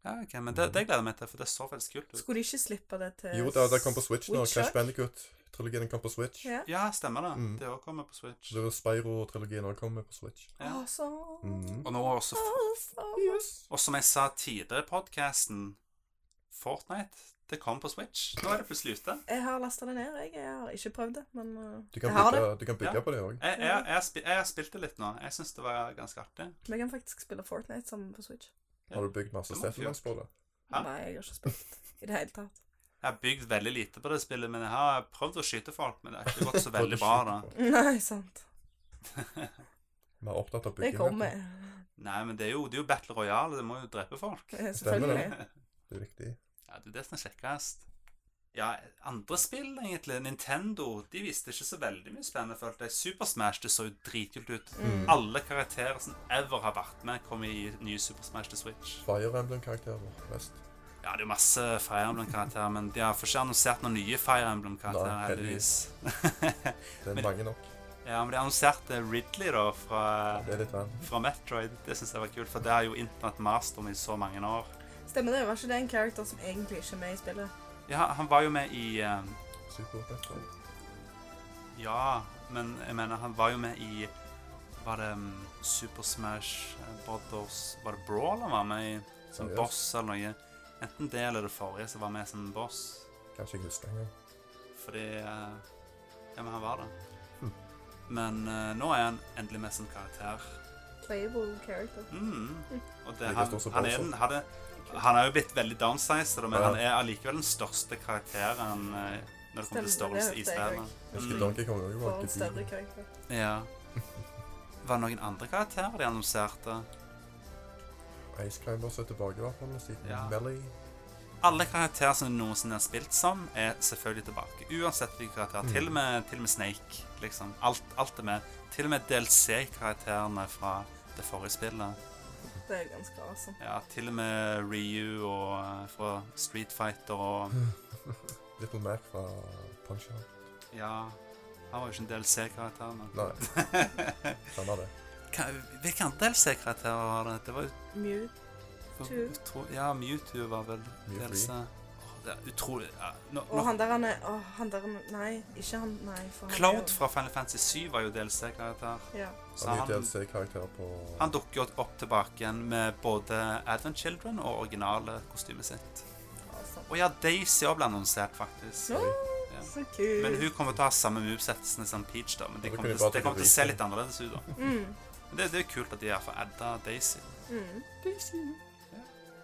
S1: Ja, ok, men det, det gleder jeg meg til, for det så veldig kult ut.
S3: Skulle de ikke slippe det til
S2: Jo da, det kom på Switch nå.
S3: Switch
S2: Cash
S3: også?
S2: Bandicoot-trilogien kom på Switch.
S3: Ja.
S1: Ja, stemmer det.
S2: Mm.
S1: Det òg kommer på Switch.
S2: Så Spyro-trilogien også kommer på Switch.
S1: Ja.
S3: Awesome.
S2: Mm.
S1: Og nå har også
S3: Awesome.
S1: Og som jeg sa tidligere i podkasten, Fortnite, det kom på Switch. Nå er det plutselig ute.
S3: Jeg har lasta det ned, jeg. Jeg har ikke prøvd det, men uh,
S2: Du
S3: jeg
S2: kan
S3: har det.
S2: bygge, du kan bygge
S1: Ja.
S2: på det òg.
S1: Jeg, jeg, jeg, har spi- jeg har spilt det litt nå. Jeg syns det var ganske artig.
S3: Vi kan faktisk spille Fortnite sammen på Switch.
S2: Har du bygd masse
S1: Det må du
S2: settlements på det?
S1: Ja.
S3: Nei, jeg har ikke spilt i det hele tatt. [laughs]
S1: Jeg har bygd veldig lite på det spillet, men jeg har prøvd å skyte folk. Men det har ikke gått så veldig bra, da.
S3: Nei, sant.
S2: [laughs] Vi er opptatt av
S3: Det
S2: bygging.
S3: kommer.
S1: [laughs]
S3: [laughs]
S1: Nei, men det er jo, det er jo battle royale. Det må jo drepe folk.
S3: Eh,
S2: Stemmer
S3: Selvfølgelig.
S2: det. Det er viktig.
S1: [laughs] Ja, det er det som er kjekkest. Ja, andre spill, egentlig. Nintendo de viste ikke så veldig mye spennende, følte jeg. Super Smash det så jo dritkult ut.
S2: Mm.
S1: Alle karakterer som ever har vært med, kom i nye Super Smash til Switch.
S2: Fire Emblem-karakterer mest.
S1: Ja, det er jo masse Fire Emblem-karakterer, men de har ikke annonsert noen nye Fire Emblem-karakterer,
S2: Nei,
S1: heldigvis. [laughs]
S2: heldigvis. Det er
S1: Men-
S2: mange nok.
S1: ja, men de annonserte Ridley, da, fra,
S2: Det er litt vann.
S1: fra Metroid. Det syns jeg var kult, for det har jo Internett mast om i så mange år.
S3: Stemmer det? Var ikke det en character som egentlig ikke er med i spillet?
S1: Ja, han var jo med i eh,
S2: Super Metroid.
S1: Ja, men jeg mener, han var jo med i Var det mm, Super Smash Brothers Var det Brawl han var med i? Som
S2: Seriøst?
S1: boss eller noe? Enten det eller det forrige som var med som boss.
S2: Kanskje jeg husker engang.
S1: Fordi eh, Ja, men han var det.
S2: Hm.
S1: Men eh, nå er han endelig med som karakter.
S3: Playable character.
S1: Mm. Og det,
S2: Like
S1: han,
S2: stor som
S1: han, er
S2: Bowser.
S1: den, han, er, han er jo blitt veldig downsized, men
S2: Ja.
S1: han er allikevel den største karakteren eh, når det kommer til
S3: Stemmer, det
S1: størrelse i
S3: hørte jeg
S1: spillet.
S2: Jeg husker
S1: Mm.
S2: Donkey Kong også
S3: For en
S2: var
S3: større
S2: ikke
S3: karakter.
S1: Ja. Var det noen andre karakterer de annonserte?
S2: Ice Climbers er tilbake, i hvert fall. Siden
S1: Ja.
S2: Melly
S1: Alle karakterer som noensinne er spilt som, er selvfølgelig tilbake. Uansett hvilken karakter. Til, og med, til og med Snake. liksom. Alt, alt er med. Til og med DLC-karakterene fra det forrige spillet.
S3: Det er ganske awesome.
S1: Ja, til og med Ryu og, eh, fra Street Fighter og
S2: Little Mac fra Punch-Out.
S1: Ja. Han var jo ikke en DLC-karakter, men
S2: Nei, han er det.
S1: [laughs] Hva- Hvilke andre DLC-karakterer var det? Det var
S3: Mew.
S1: utro... utro- Ja, Mewtwo var vel
S2: Mew
S1: DLC. Åh, Det er utrolig ja, nå,
S3: Og
S1: nå,
S3: han der han er Å, han der han Nei, ikke han. Nei. For han er
S1: Cloud
S3: jo-
S1: fra Final Fantasy 7 var jo DLC-karakter.
S3: Ja.
S1: Så
S2: Han er
S1: han,
S2: DLC-karakter altså på
S1: han dukker jo opp tilbake igjen med både Advent Children og originale kostymet sitt.
S3: Awesome.
S1: Og ja, Daisy òg ble annonsert, faktisk.
S3: Nå,
S1: Ja.
S3: så kult.
S1: Men hun kommer til å ha samme movesetsene som Peach, da. Men
S2: Ja,
S1: det
S2: da
S1: kommer
S2: kan de
S1: til,
S2: bare
S1: det
S2: trykke
S1: kommer til å
S2: på
S1: se
S2: Daisy.
S1: litt annerledes ut, da.
S3: Mm.
S1: Men det, det er jo kult at de har fått adda Daisy.
S3: Mm.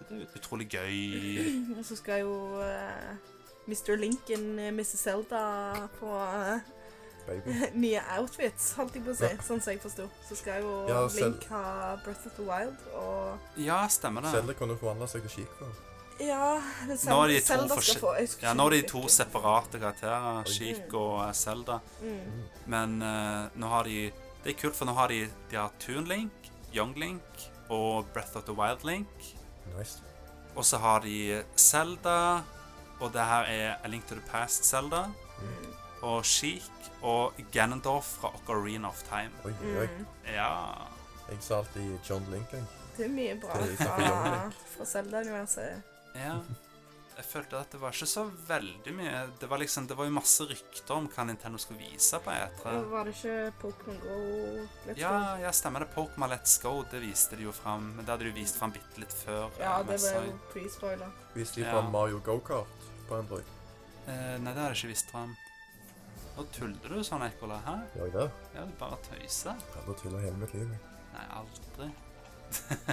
S1: Det er jo utrolig gøy.
S3: Og så skal jo eh, Mr. Lincoln, eh, Mrs. Zelda på eh, [laughs]
S2: Baby.
S3: nye outfits, holdt jeg på å si, sånn som jeg forsto. Så skal jo
S2: Ja, Zel-
S3: Link ha Breath of the Wild og
S1: Ja, stemmer det.
S2: Zelda kunne forvandle seg til skip. da.
S3: Ja, men Zel-
S1: Nå er de to
S3: Zelda skal
S1: forskjell-
S3: få jeg husker
S1: Ja,
S3: ikke
S1: nå er de
S3: hvilken.
S1: to separate karakterer, Sheik
S3: Mm.
S1: og eh, Zelda.
S3: Mm.
S1: Men eh, nå har de Det er kult, for nå har de De har Toon Link, Young Link og Breath of the Wild Link.
S2: Nice.
S1: Og så har de Zelda, og det her er A Link to the Past Zelda. Og Sheik og Ganondorf fra Ocarina of Time.
S2: Oi, oi.
S3: Mm.
S1: Ja
S2: Jeg sa alltid John Lincoln.
S3: Det er mye
S1: [laughs]
S3: bra
S2: Det er ikke
S3: fra,
S2: for
S3: fra Zelda-universet.
S1: Ja. Jeg følte at det var ikke så veldig mye Det var liksom, det var jo masse rykter om hva Nintendo skulle vise på E3.
S3: Og Var det ikke Pokémon Go? Let's Go?
S1: Ja, ja, stemmer det. Pokémon Let's Go, det viste de jo fram. Men det hadde de jo vist fram bitte litt før.
S3: Ja,
S1: eh,
S3: det var
S1: Metroid.
S3: jo pre-spoiler.
S2: Hvis de
S1: Ja.
S2: fant Mario Go-Kart på Android.
S1: Eh, nei, det har jeg ikke visst fram. Nå tuller du sånn, Ekkola. Hæ?
S2: Gjør jeg det?
S1: Ja, du bare tøyser.
S2: Jeg hadde tulla hele mitt liv. jeg.
S1: Nei, aldri.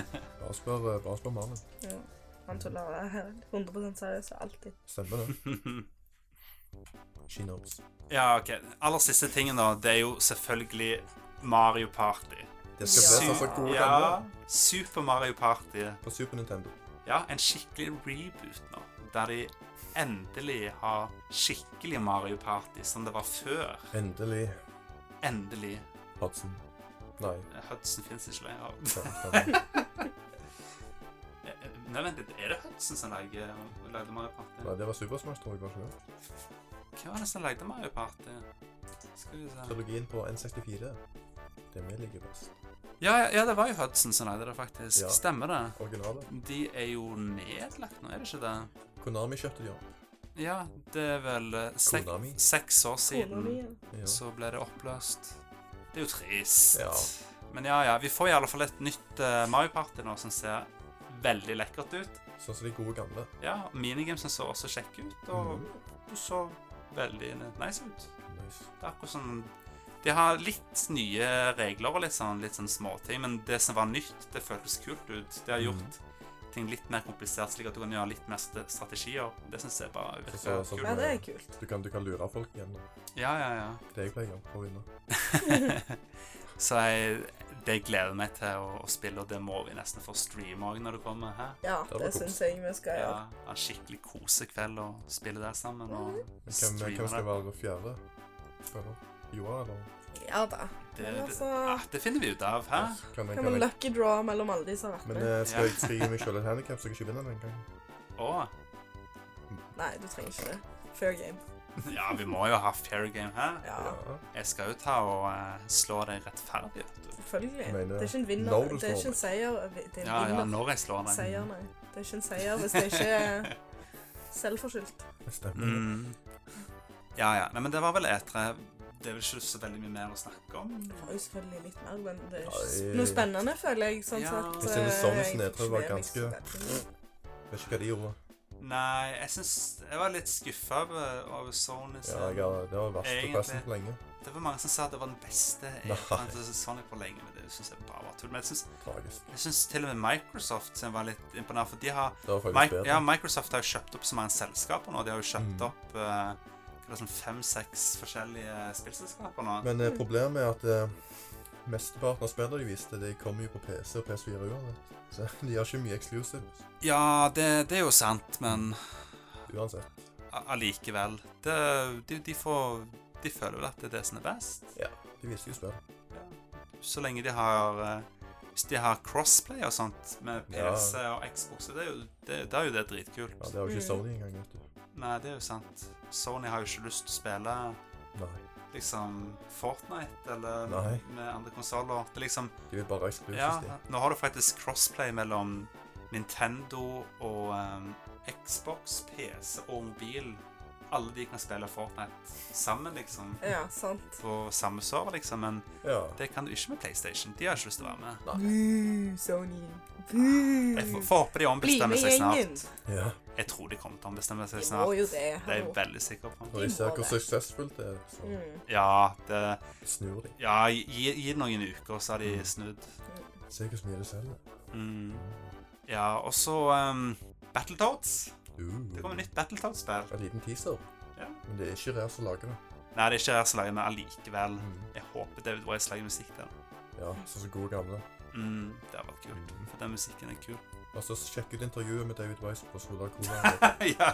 S1: [laughs]
S2: Bare spør, eh, bare spør mannen.
S3: Ja. Han tuller det [laughs] her. 100 seriøs alltid.
S1: [laughs]
S2: Stemmer det. She knows.
S1: ja, OK. Aller siste tingen, da. Det er jo selvfølgelig Mario Party.
S2: Det skal bli
S1: Sy-
S2: sånn som gode
S1: ja,
S2: gamle
S1: Super Mario Party.
S2: på Super Nintendo.
S1: Ja, en skikkelig reboot nå. Der de endelig har skikkelig Mario Party som det var før.
S2: Endelig.
S1: Endelig.
S2: Hudson. Nei.
S1: Hudson fins ikke lenger. [laughs]
S2: det er- det er-
S1: Nei, vent litt. Er det Hudson som lager, lagde Mario Party?
S2: Nei, det var Super Smash, tror jeg. var det ikke det?
S1: Hvem var det som lagde Mario Party? Skal vi se
S2: Trilogien på N64. Det vi liker best.
S1: Ja, ja, ja, det var jo Hudson som lagde det, faktisk.
S2: Ja.
S1: Stemmer det?
S2: Originalet.
S1: De er jo nedlagt nå, er det ikke det?
S2: Konami kjøpte de opp.
S1: Ja, det er vel eh, sek
S2: Konami.
S1: seks år
S3: Kona
S1: siden
S3: mi, ja.
S2: Ja.
S1: så ble det oppløst. Det er jo trist.
S2: Ja.
S1: Men ja, ja, vi får i alle fall et nytt eh, Mario Party nå som ser veldig lekkert ut.
S2: Sånn som de gode gamle.
S1: Ja, minigamesen så også kjekk ut, og
S2: Mhm.
S1: du så veldig nice ut.
S2: Nice.
S1: Det er akkurat sånn De har litt nye regler og litt sånn, litt sånn småting, men det som var nytt, det føltes kult ut.
S2: Mhm.
S1: De har gjort ting litt mer komplisert, slik at du kan gjøre litt mer st- strategier. Det syns jeg bare
S2: Så- så-
S1: virker
S2: så-
S1: kult.
S3: ja, det er kult.
S2: Du kan, du kan lure folk igjen. da.
S1: Ja, ja, ja.
S2: Det jeg pleier å vinne.
S1: [laughs] Så jeg, det gleder jeg meg til å, å spille, og det må vi nesten få streame òg når det kommer. Hæ?
S3: Ja,
S2: var
S3: det
S2: kos.
S3: syns jeg vi skal
S1: Ja,
S3: gjøre.
S1: ha en skikkelig kosekveld og spille der sammen og
S2: Hvem, hvem
S1: streame det.
S2: skal være fjerde? Spiller? Joa, eller?
S3: Ja da.
S1: Det,
S3: Men
S1: det,
S3: altså,
S1: ah, det finner vi ut av, hæ?
S2: Kan jeg,
S3: Kan vi
S2: kan jeg?
S3: lucky draw mellom alle de som har vært
S2: Men
S3: med?
S2: eh, skal
S1: Ah, Ja.
S2: jeg skrive meg selv et handicap så jeg ikke vinner den engang?
S1: Å.
S2: eh,
S3: Nei, du trenger ikke det. Fair game.
S1: Ja, vi må jo ha fair game, hæ?
S3: Ja,
S2: Ja.
S1: Jeg skal jo ta og eh, slå deg rettferdig, vet du.
S3: selvfølgelig.
S2: Jeg mener,
S3: Det er ikke en vinner.
S2: når du
S3: Det er
S2: slår
S3: ikke en seier. Det er
S1: Ja,
S3: en
S1: ja,
S3: vinner.
S1: når jeg slår den.
S3: Seier, nei. Det er ikke en seier hvis det ikke
S1: [laughs]
S3: er selvforskyldt.
S2: Det stemmer.
S1: Mm. Ja, ja. Nei, men det var vel etere. Det er vel ikke så veldig mye mer å snakke om.
S3: Det var jo selvfølgelig litt mer, men det er
S2: Ja,
S3: ikke
S2: jeg-
S3: noe spennende, føler jeg. Sånn
S1: Ja.
S3: sett.
S1: Jeg
S2: synes
S3: eh,
S2: Sonnes
S3: jeg
S2: nedtrekk
S3: fikk
S2: var
S3: med meg så
S2: ganske-
S3: veldig mye.
S2: Vet ikke hva de gjorde.
S1: Nei, jeg syns Jeg var litt skuffa over, over Sony.
S2: Ja,
S1: sin-
S2: jeg har, det var verste
S1: Egentlig.
S2: pressen på lenge.
S1: Det var mange som sa at det var den
S2: [laughs]
S1: beste
S2: Nei.
S1: E3-en til Sony på lenge, men det syns jeg bare var tull. Men jeg syns-
S2: Tragisk.
S1: jeg syns til og med Microsoft som jeg var litt imponert, for de har
S2: Det var faktisk
S1: Mi
S2: bedre.
S1: ja, Microsoft har jo kjøpt opp så mange selskaper nå. De har jo kjøpt
S2: Mm.
S1: opp eh, hva er det, sånn fem-seks forskjellige spillselskaper nå.
S2: Men eh, problemet er at eh, mesteparten av spillene de viste, de kommer jo på PC og PS4 uansett. Så [laughs] de har ikke mye exclusives
S1: Ja, det, det er jo sant, men
S2: uansett.
S1: A- allikevel. Det, de, de, får, de føler vel at det er det som er best.
S2: De viser jo spill.
S1: Så lenge de har eh, Hvis de har crossplay og sånt med
S2: Ja.
S1: PC og Xbox, så det er jo det, da er jo det dritkult.
S2: Ja, det har jo ikke
S3: Mm.
S2: Sony engang, vet du.
S1: Nei, det er jo sant. Sony har jo ikke lyst til å spille
S2: Nei.
S1: liksom Fortnite eller
S2: Nei.
S1: med andre konsoller. Det er liksom
S2: De vil bare ha exclusives,
S1: Ja,
S2: de.
S1: nå har du faktisk crossplay mellom Nintendo og eh, Xbox, PC og mobil. Alle de kan spille Fortnite sammen, liksom.
S3: Ja, sant.
S1: på samme server, liksom, men
S2: Ja.
S1: det kan du ikke med PlayStation. De har ikke lyst til å være med.
S3: Boo, Sony.
S1: Jeg får,
S3: Boo.
S1: får håpe de
S3: Bli
S1: ombestemmer
S3: med
S1: seg
S3: gjengen.
S1: snart.
S2: ja.
S1: Jeg tror de kommer til å ombestemme seg
S3: De må
S1: snart.
S3: jo det.
S1: Det er jeg
S3: hallo.
S1: veldig sikker på.
S2: Når de
S3: De
S2: ser
S3: må
S2: hvor
S3: det.
S2: suksessfullt det er, så
S3: Mm.
S1: Ja, det,
S2: snur de.
S1: ja gi, gi det noen uker, så har de snudd.
S2: Se hvor mye det selger.
S1: Mm. Ja, og så um, Battletoads.
S2: Uh.
S1: Det kommer nytt Battletoads-spill.
S2: En liten teaser.
S1: Ja.
S2: Men det er ikke Rare som lager det.
S1: Nei, det er ikke her så lenge, men allikevel.
S2: Mm.
S1: Jeg håper David Wise lager musikk der.
S2: Ja, sånn som gode gamle.
S1: Mm, det har vært kult, for den musikken er kul. [laughs]
S2: Og så sjekk ut intervjuet med David Weiss på Sola Cola.
S1: ja.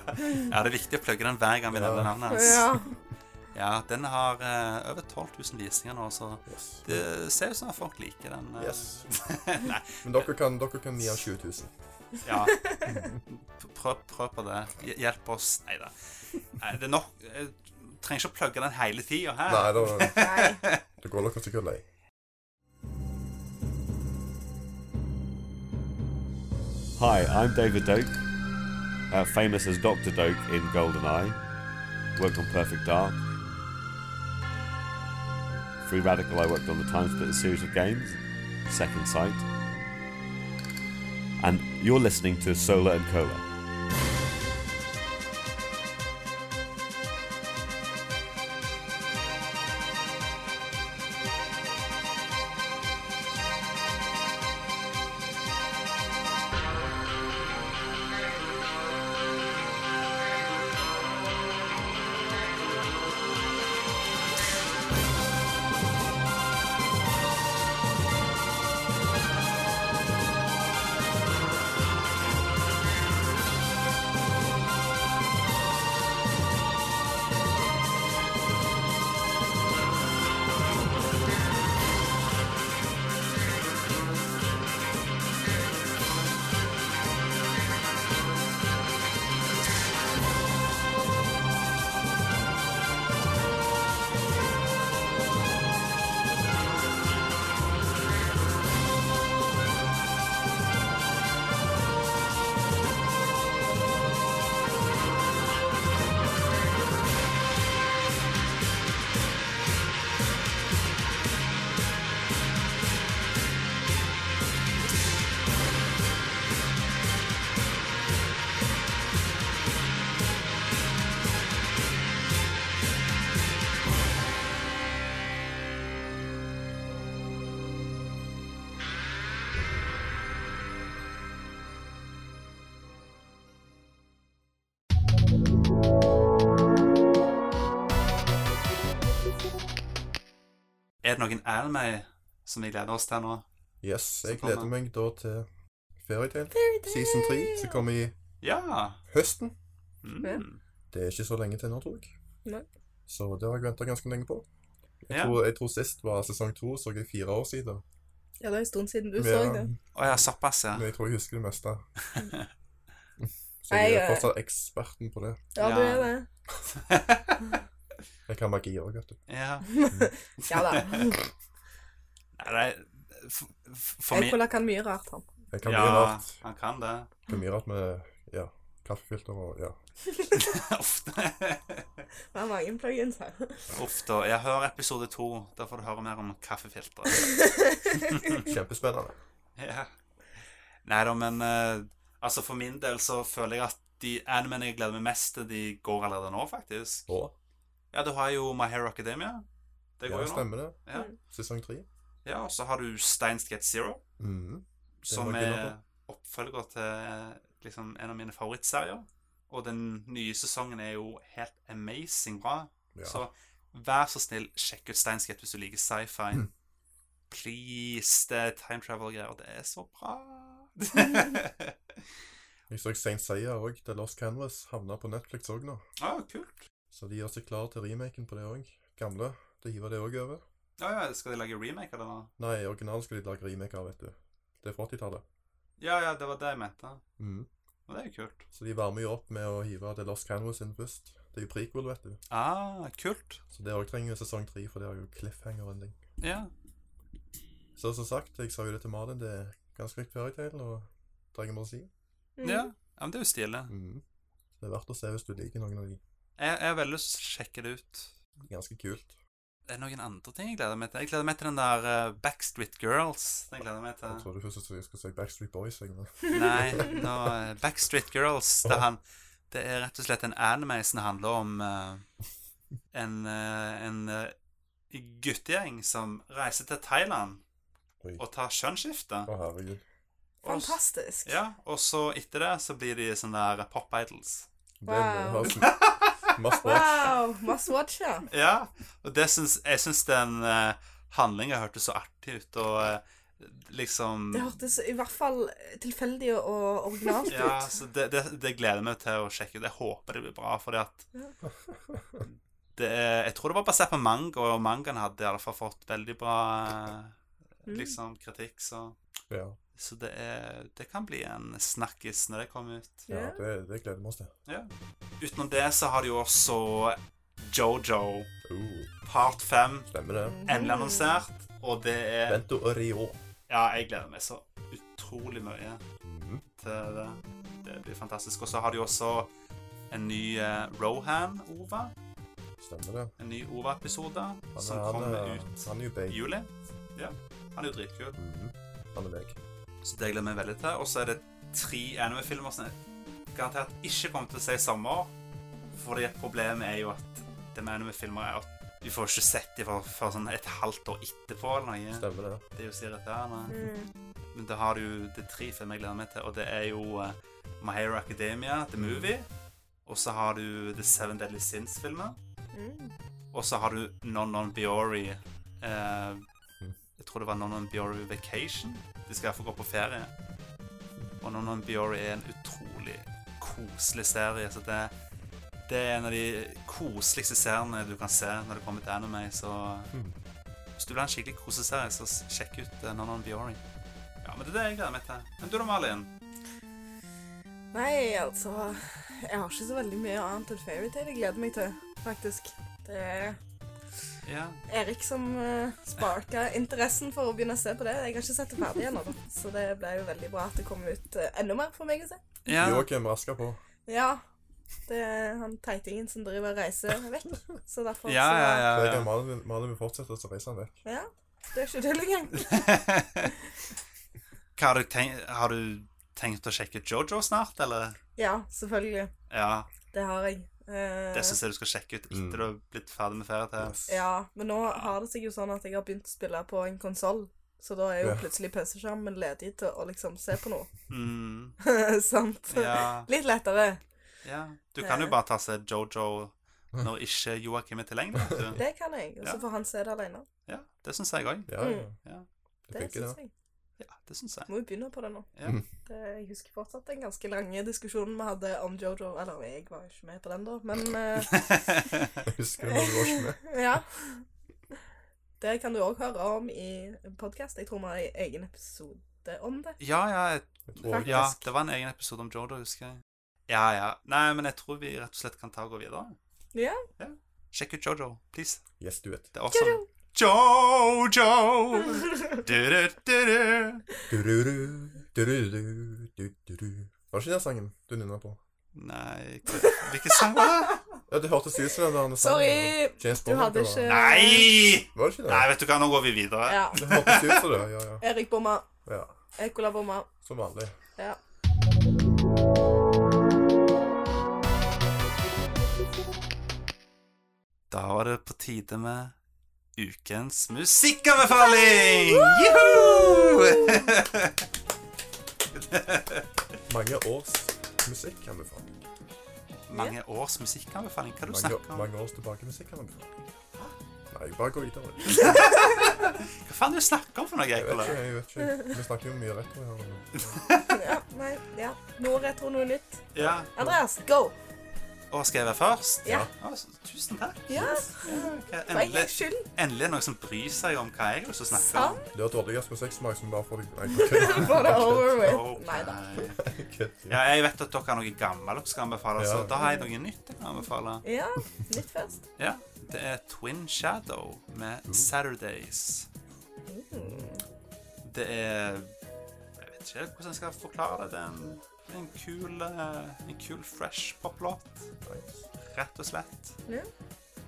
S1: ja, det er viktig å plugge den hver gang vi nevner
S2: Ja.
S1: navnet hans.
S3: Ja.
S1: Ja, den har eh, over 12 000 visninger nå, så
S2: Yes.
S1: det ser ut som at folk liker den. eh.
S2: yes.
S1: [laughs] Nei,
S2: Men dere kan, dere kan gi han 20 000.
S3: [laughs]
S1: ja. P- Prøv, prøv på det. Hj- Hjelp oss. Nei da. Nei, Det er nok Jeg trenger ikke å plugge den hele tida her.
S2: Nei, da,
S3: Nei.
S1: [laughs]
S2: da går dere sikkert lei.
S9: Hi, I'm David Doak, uh, famous as Dr. Doak in GoldenEye, worked on Perfect Dark. Free Radical, I worked on the Time Splitter series of games, Second Sight. And you're listening to Solar and Cola.
S1: er det noen anime som vi gleder oss til nå?
S2: Yes, jeg
S1: kommer-
S2: gleder meg da til Fairytale season 3, som kommer i
S1: Ja.
S2: høsten.
S1: Mm.
S2: Det er ikke så lenge til nå, tror jeg.
S3: Nei.
S2: Så det har jeg venta ganske lenge på. Jeg,
S1: Ja.
S2: tror, jeg tror sist var sesong to, så jeg fire år siden.
S3: Ja, det er en stund siden du
S2: Men-
S3: så det.
S1: Å ja, såpass, ja.
S2: Men jeg tror jeg husker det
S1: [laughs]
S2: meste. Så
S3: Nei,
S2: jeg er
S3: jeg-
S2: fortsatt eksperten på det.
S3: Ja, du er det.
S2: Jeg kan magi òg, vet du.
S1: ja.
S3: Ja da.
S1: Nei, det er- f- f- For
S3: Jeg
S1: meg
S3: kolla kan mye rart, han.
S2: Jeg kan mye
S1: Ja,
S2: rart.
S1: han kan det. [laughs]
S2: Kan mye rart med ja, kaffefilter og ja.
S1: Ofte.
S3: Det er mange plugins her. [laughs]
S1: Ofte. Jeg hører episode to. Da får du høre mer om kaffefiltre.
S2: Kjempespennende.
S1: [laughs] Ja. Nei da, men eh, altså for min del så føler jeg at de animene jeg gleder meg mest til, de går allerede nå, faktisk.
S2: Og
S1: Ja, du har jo My Hero Academia. Det
S2: ja,
S1: går jo nå.
S2: stemmer det.
S1: Ja.
S2: Sesong tre.
S1: ja, og så har du Steins Gate Zero,
S2: Mhm.
S1: som
S2: må jeg begynne
S1: er oppfølger til liksom en av mine favorittserier. Og den nye sesongen er jo helt amazing bra.
S2: Ja.
S1: Så vær så snill, sjekk ut Steins Gate hvis du liker sci-fi. Please. Det er time travel-greier. Det er så [laughs] bra.
S2: Jeg så Saint Seiya òg, The Lost Canvas, havna på Netflix òg nå.
S1: ah, kult.
S2: Så de gjør seg klar til remaken på det òg. Gamle. De hiver det òg over.
S1: Ja, ja, skal de lage remake av det nå?
S2: Nei, originalen skal de lage remake av, vet du. Det er fra 80-tallet.
S1: Ja, ja, det var det jeg mente.
S2: Mhm.
S1: Og det er jo kult.
S2: Så de varmer jo opp med å hive The Lost Canvas inn først. Det er jo prequel, vet du.
S1: Ah, kult.
S2: Så det òg trenger jo sesong tre, for det har jo cliffhanger-ending.
S1: Ja.
S2: Så som sagt, jeg sa jo det til Malin, det er ganske likt Fairytale, og trenger man å si.
S3: Mm.
S1: ja. Mm. Ja, men det er jo stilig.
S2: Mhm. Det er verdt å se hvis du liker noen av de.
S1: Jeg, jeg har veldig lyst til å sjekke det ut.
S2: Ganske kult.
S1: Det er noen andre ting jeg gleder meg til. Jeg gleder meg til den der eh, Backstreet Girls. Den gleder jeg meg
S2: Jeg
S1: til.
S2: trodde først at jeg skulle si Backstreet Boys. Jeg, men...
S1: Nei, nå, eh, Backstreet Girls. Det, er han, det er rett og slett en anime som handler om eh, en, eh, en eh, guttegjeng som reiser til Thailand
S2: Oi.
S1: og tar kjønnsskifte.
S2: Å, herregud.
S1: Og s-
S3: Fantastisk.
S1: Ja, og så etter det så blir de sånne der eh, pop idols.
S2: Det er wow.
S3: Wow. [laughs]
S2: must watch.
S3: Wow, must watch, ja.
S1: Ja, og det syns, jeg syns den uh, handlinga hørtes så artig ut, og eh, liksom
S3: Det hørtes i hvert fall tilfeldig og originalt
S1: Ja,
S3: ut.
S1: så det, det, det gleder jeg meg til å sjekke ut. Jeg håper det blir bra, fordi at det er, Jeg tror det var basert på manga, og mangaen hadde i alle fall fått veldig bra eh,
S3: Mm.
S1: liksom kritikk, så
S2: Ja,
S1: så det, er, det kan bli en snakkis når det kommer ut.
S2: ja det, det gleder vi oss til.
S1: Utenom det så har de jo også Jojo
S2: Oh,
S1: part 5
S2: stemmer det.
S1: endelig annonsert, og det er
S2: Bento og Rio.
S1: Ja, jeg gleder meg så utrolig mye
S2: Mm,
S1: til det. Det blir fantastisk. Og så har de også en ny eh, Rohan-Ova.
S2: Stemmer det.
S1: En ny Ova-episode
S2: Han
S1: som
S2: er, han
S1: kommer
S2: er,
S1: ut
S2: han er jo
S1: i
S2: baby.
S1: juli. Ja, han er jo dritkul.
S2: Mhm. Han er meg.
S1: Så det gleder jeg meg veldig til. Og så er det tre anime-filmer som jeg garantert ikke kommer til å se i sommer. Fordi at problemet er jo at det med anime-filmer er at vi får ikke sett dem før før sånn et halvt år etterpå eller noe.
S2: Stemmer det.
S1: Det er jo så irriterende.
S3: Mm,
S1: Men da har du det er tre filmer jeg gleder meg til, og det er jo eh, My Hero Academia, The Movie, og så har du The Seven Deadly Sins-filmer,
S3: mm.
S1: og så har du Non Non Biori eh, Jeg tror det var Non Non Biori Vacation. De skal iallfall gå på ferie. Og Non Non Biori er en utrolig koselig serie, så det det er en av de koseligste seriene du kan se når det kommer til anime, så hvis du vil ha en skikkelig koseserie, så s- sjekk ut eh, Nonon Biori. Ja, men det er det jeg gleder meg til. Men du da, Malin?
S3: Nei, altså Jeg har ikke så veldig mye annet enn fairytale jeg gleder meg til, faktisk. Det er
S1: Ja.
S3: Erik som uh, sparka interessen for å begynne å se på det. Jeg har ikke sett det ferdig ennå, da. så det ble jo veldig bra at det kom ut eh, enda mer for meg å se.
S1: ja.
S2: Joakim rasker på.
S3: Ja. Det er han teitingen som driver og reiser vekk, så derfor
S1: Ja, ja,
S2: Så jeg
S1: ja,
S2: og Malin vil- Malin vil fortsette, så reiser han vekk.
S3: så ja. Det er ikke det lenger.
S1: ja. Hva har du tenkt Har du tenkt å sjekke Jojo snart, eller?
S3: Ja, selvfølgelig.
S1: Ja,
S3: Det har jeg. Eh,
S1: det syns jeg du skal sjekke ut etter du har blitt ferdig med ferie til.
S2: Yes.
S3: Ja, men nå har det seg jo sånn at jeg har begynt å spille på en konsoll, så da er jo
S2: Ja.
S3: plutselig PC-skjermen ledig til å liksom se på noe. [laughs]
S1: Mm,
S3: Sant?
S1: ja,
S3: Litt lettere.
S1: ja. Du kan jo bare ta seg Jojo når ikke Joakim er tilgjengelig, vet du.
S3: [laughs] Det kan jeg. Og så
S1: Ja.
S3: får han se det alene.
S1: Ja. Det syns jeg òg.
S2: Ja, ja.
S1: Ja.
S2: Det funker,
S3: synes
S2: det.
S3: jeg.
S1: Ja, det syns jeg.
S3: Må jo begynne på det nå.
S1: Ja.
S3: Det, jeg husker fortsatt den ganske lange diskusjonen vi hadde om Jojo. Eller jeg var jo ikke med på den da,
S2: [laughs]
S3: men eh,
S2: Jeg husker det når du var ikke med.
S3: [laughs] ja. Det kan du òg høre om i podkast. Jeg tror vi har en egen episode om det.
S1: [laughs] ja, ja, jeg,
S2: Jeg tror
S1: ja, det var en egen episode om Jodo, husker jeg. Ja, ja. Nei, men jeg tror vi rett og slett kan ta og gå videre.
S3: Ja.
S1: Sjekk ut Jojo, please.
S2: Yes, du vet.
S1: Det er awesome. Jojo! Du-du-du-du.
S2: Du-du-du, du-du-du, du-du-du. Var det ikke den sangen du nynna på?
S1: Nei, hva- hvilken sang var det?
S2: Ja, det hørtes ut som den der sangen.
S3: Sorry,
S2: James
S3: Du
S2: Bond,
S3: hadde
S2: eller?
S3: ikke
S1: Nei!
S2: Var det ikke det?
S1: Nei, vet du hva, nå går vi videre.
S3: [laughs] Ja.
S2: Det hørtes ut som det, ja, ja.
S3: Erik bomma.
S2: ja.
S3: Ekola bomma.
S2: Som vanlig.
S3: Ja.
S1: Da var det på tide med ukens musikkanbefaling! Juhu!
S2: Mange års musikk kan vi få.
S1: Mange års musikkanbefaling? Hva er det du
S2: Mange,
S1: snakker om?
S2: mange års tilbake musikk kan vi få. Nei, bare gå
S1: [laughs]
S2: videre.
S1: Hva faen er det du snakker om for noe,
S2: Jeg vet
S1: Eikola?
S2: ikke, jeg vet ikke. Vi snakker jo mye retro her. men-
S3: ja. Nei, ja. Noe retro, noe nytt.
S1: Ja.
S3: Andreas, go!
S1: Og skal jeg være først?
S3: Ja.
S1: Å, så- tusen takk.
S3: Ja,
S1: Hva-
S3: for en gangs
S1: Endelig,
S3: skyld. Sånn.
S1: endelig er det noen som bryr seg om hva jeg har lyst til å snakke om.
S3: [laughs] Sant?
S2: Du har dårligst musikksmak som bare får deg Nei, kødd.
S3: Var det over
S1: Ok.
S3: with? Nei da.
S2: Kødd, ja.
S1: [laughs] Ja, jeg vet at dere har noe gammelt dere skal anbefale,
S2: Ja.
S1: så da har jeg noe nytt jeg kan anbefale.
S3: Ja, nytt først.
S1: Ja, det er Twin Shadow med Saturdays. Det er Jeg vet ikke helt hvordan jeg skal forklare det. Det er en, det er en kul, eh, en kul fresh poplåt, rett og slett.
S3: Ja.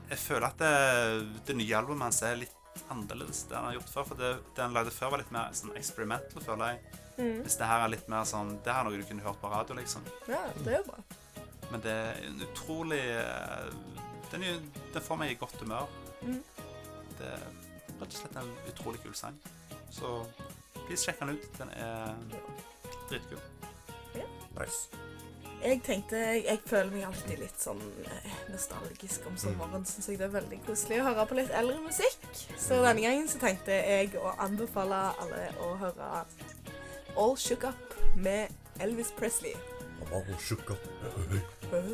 S1: Jeg føler at det, det nye albumet hans er litt annerledes det han har gjort før. For det, det han lagde før, var litt mer sånn experimental, føler jeg.
S3: Mm.
S1: Hvis det her er litt mer sånn Det her er noe du kunne hørt på radio, liksom.
S3: Ja, det er jo bra.
S1: Men det er en utrolig eh, Den, er, jo- den får meg i godt humør.
S3: Mhm.
S1: Det er eh, rett og slett en utrolig kul sang. Så please sjekk den ut. Den er dritkul.
S2: Nice.
S3: Jeg tenkte, jeg, jeg føler meg alltid litt sånn eh, nostalgisk om sommeren. Synes jeg det er veldig koselig å høre på litt eldre musikk. Så denne gangen så tenkte jeg å anbefale alle å høre All Shook Up med Elvis [laughs] Presley.
S2: Og bare shook up.
S3: [laughs]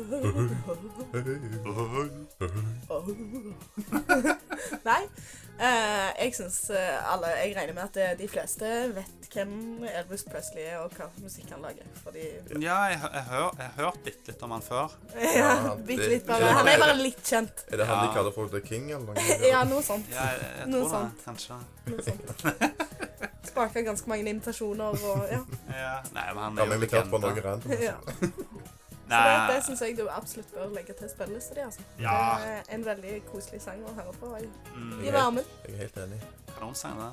S3: Nei. eh, jeg syns alle Jeg regner med at eh, de fleste vet hvem Elvis Presley er, og hva musikk han lager. Fordi [laughs]
S1: Ja, jeg, hø- jeg, hør, jeg har hørt bitte litt om han før.
S3: ja,
S2: det-
S3: Bitte litt, bare. Han er bare litt kjent. [laughs]
S2: Er det han de
S1: Ja.
S2: kaller for The King, eller noe?
S3: Ja, noe sånt.
S1: [laughs] Ja, jeg, jeg
S3: Noe
S1: tror det,
S3: sånt.
S1: kanskje.
S3: Noe sånt. Spaka ganske mange invitasjoner og ja.
S1: Ja. Nei, men han
S2: Ja,
S1: er
S2: vi
S1: jo
S2: invitert på noe
S1: legende.
S2: random.
S3: ja.
S2: altså.
S3: Så det, det
S1: Nei,
S3: syns jeg du absolutt bør legge til spillelista di. Altså.
S1: Ja.
S3: Det er En veldig koselig sang å høre på i,
S1: mm,
S3: i varmen.
S2: Jeg er helt enig.
S1: kanonsang, det.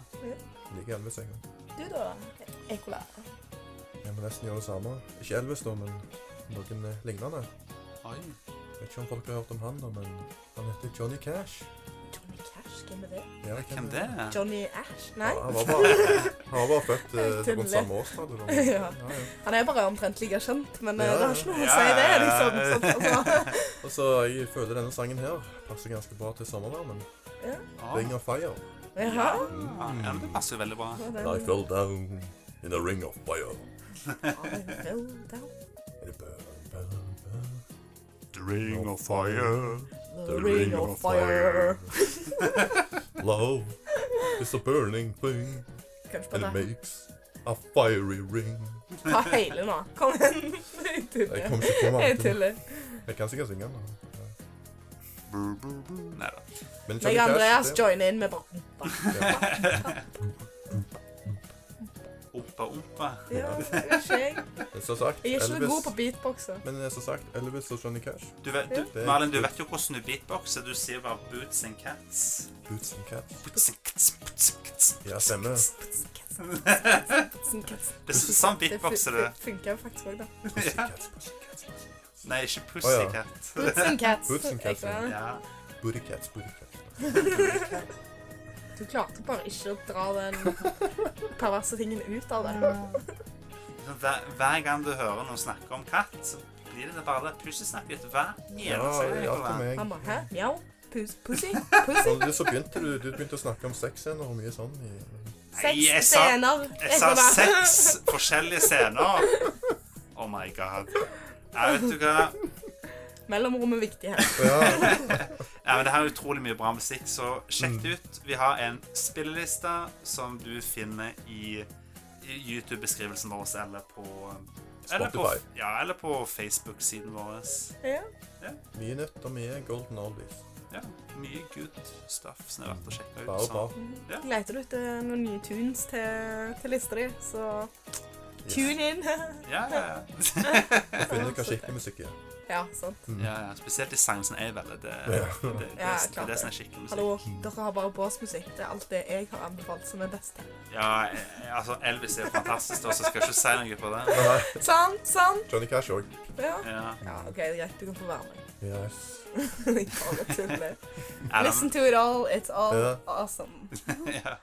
S2: Liker Elvis, jeg.
S3: Du da, Ekola.
S2: Jeg må nesten gjøre det samme. Ikke Elvis, da, men noen eh, lignende.
S1: Oi.
S2: Jeg vet ikke om folk har hørt om han, da, men han heter Johnny Cash.
S3: Johnny Cash, hvem er det?
S2: Ja,
S1: Hvem det er?
S3: Johnny Ash? Nei?
S2: Han var bare, han var bare
S3: [laughs]
S2: født eh,
S3: Jeg tuller.
S2: rundt samme årstall. eller noe.
S3: [laughs] Ja.
S2: Ja, ja.
S3: Han er bare omtrent like skjønt, men eh,
S2: Ja,
S3: det har ikke noe å
S1: ja.
S3: si, det.
S1: Ja,
S3: liksom.
S1: ja, [laughs]
S3: Sånn, altså.
S2: Og så jeg føler denne sangen her passer ganske bra til sommervarmen.
S1: Å,
S2: Ring of Fire.
S1: ja,
S3: Jaha.
S1: ja, men det passer jo veldig bra.
S3: Den,
S2: I fell down in a ring of fire. And it burned, burned, burned.
S1: The ring of fire.
S3: The ring of fire.
S2: [laughs] Love is a burning thing,
S3: Kanskje
S2: and it
S3: bare
S2: makes a fiery ring.
S3: ta hele nå. Kom igjen. Jeg
S2: Jeg
S3: tuller.
S2: kommer
S3: [laughs]
S2: ikke på meg.
S3: Jeg tuller.
S2: Jeg kan sikkert synge den. da. Ja.
S1: Nei da.
S2: Men Johnny Cash,
S3: Meg og Andreas
S2: [laughs] det-
S3: joiner inn med bare
S1: Ompa, ompa.
S3: Ja, det er ikke jeg.
S2: Men Som sagt,
S3: Jeg er ikke så
S2: Elvis.
S3: god på beatboxer.
S2: Men eh, som sagt, Elvis og Johnny Cash.
S1: Du vet, du,
S2: Det er
S1: Malin, du
S2: kult.
S1: vet jo hvordan du beatboxer. Du sier bare 'boots and cats'.
S2: Boots and Cats.
S1: Boots and cats, boots and cats.
S2: Ja, stemmer.
S1: [laughs] Det er så- sånn
S3: Det
S1: beatboxer
S3: fun-
S1: du.
S3: fun- funker jo faktisk òg, da.
S2: Pussycats, pussycats, pussycats.
S1: Nei, ikke pussycat.
S3: Boots and cats.
S2: Boots and cats,
S3: Ekte.
S1: Ja.
S2: Bootycats, bootycats.
S3: Du klarte bare ikke å dra
S2: [laughs]
S3: den perverse tingen ut av det.
S1: Så Hver, hver gang du hører noen snakke om katt, så blir det bare det pussesnakket hver
S2: Ja,
S1: eneste
S2: det hjalp
S1: gang.
S2: meg.
S3: Han bare Hæ? Mjau? pus
S1: [laughs]
S3: pussy?
S2: Men
S3: Pussy?
S2: du, så begynte du, du begynte å snakke om sexscener og mye sånn. I,
S1: Nei, jeg
S3: Seks
S1: sa-
S3: scener.
S1: Jeg
S3: [laughs]
S1: sa
S3: går bare-
S1: seks forskjellige scener. Oh my god. Jeg vet du hva.
S3: Mellomrom er viktig her.
S2: ja,
S1: Ja, men Det her er utrolig mye bra musikk, så sjekk
S2: Mm.
S1: det ut. Vi har en spilleliste som du finner i i YouTube-beskrivelsen vår eller på eller på,
S2: Spotify.
S1: ja, eller på Facebook-siden vår.
S3: Ja.
S2: mye nytt og mye golden oldies.
S1: Ja, mye good stuff som er verdt å sjekke ut.
S2: Bare
S1: så-
S2: bra.
S3: Leter du etter noen nye tunes til, til lista di, så tune in. [laughs]
S1: Ja, ja, ja.
S2: Finne hva skikkelig musikk er.
S3: ja, sant.
S1: ja, ja. Spesielt de sangene som jeg velger. Det, det,
S2: Ja.
S1: det, det,
S3: Ja,
S1: det er det
S3: klart det.
S1: som er skikkelig musikk.
S3: Hallo, dere har bare båsmusikk. Det er alt det jeg har anbefalt som er best.
S1: Ja, eh, altså Elvis er jo fantastisk, da, så skal jeg ikke si noe på det.
S3: Sant, sant.
S2: Johnny Cash òg.
S3: Sånn, Ja.
S1: Ja.
S3: ja, OK, det er greit. Du kan få være med. [laughs]
S2: Yes.
S3: Jeg bare
S1: Eller-
S3: tuller. eh. Listen to it all. It's all
S2: Ja.
S3: awesome.
S1: [laughs] ja.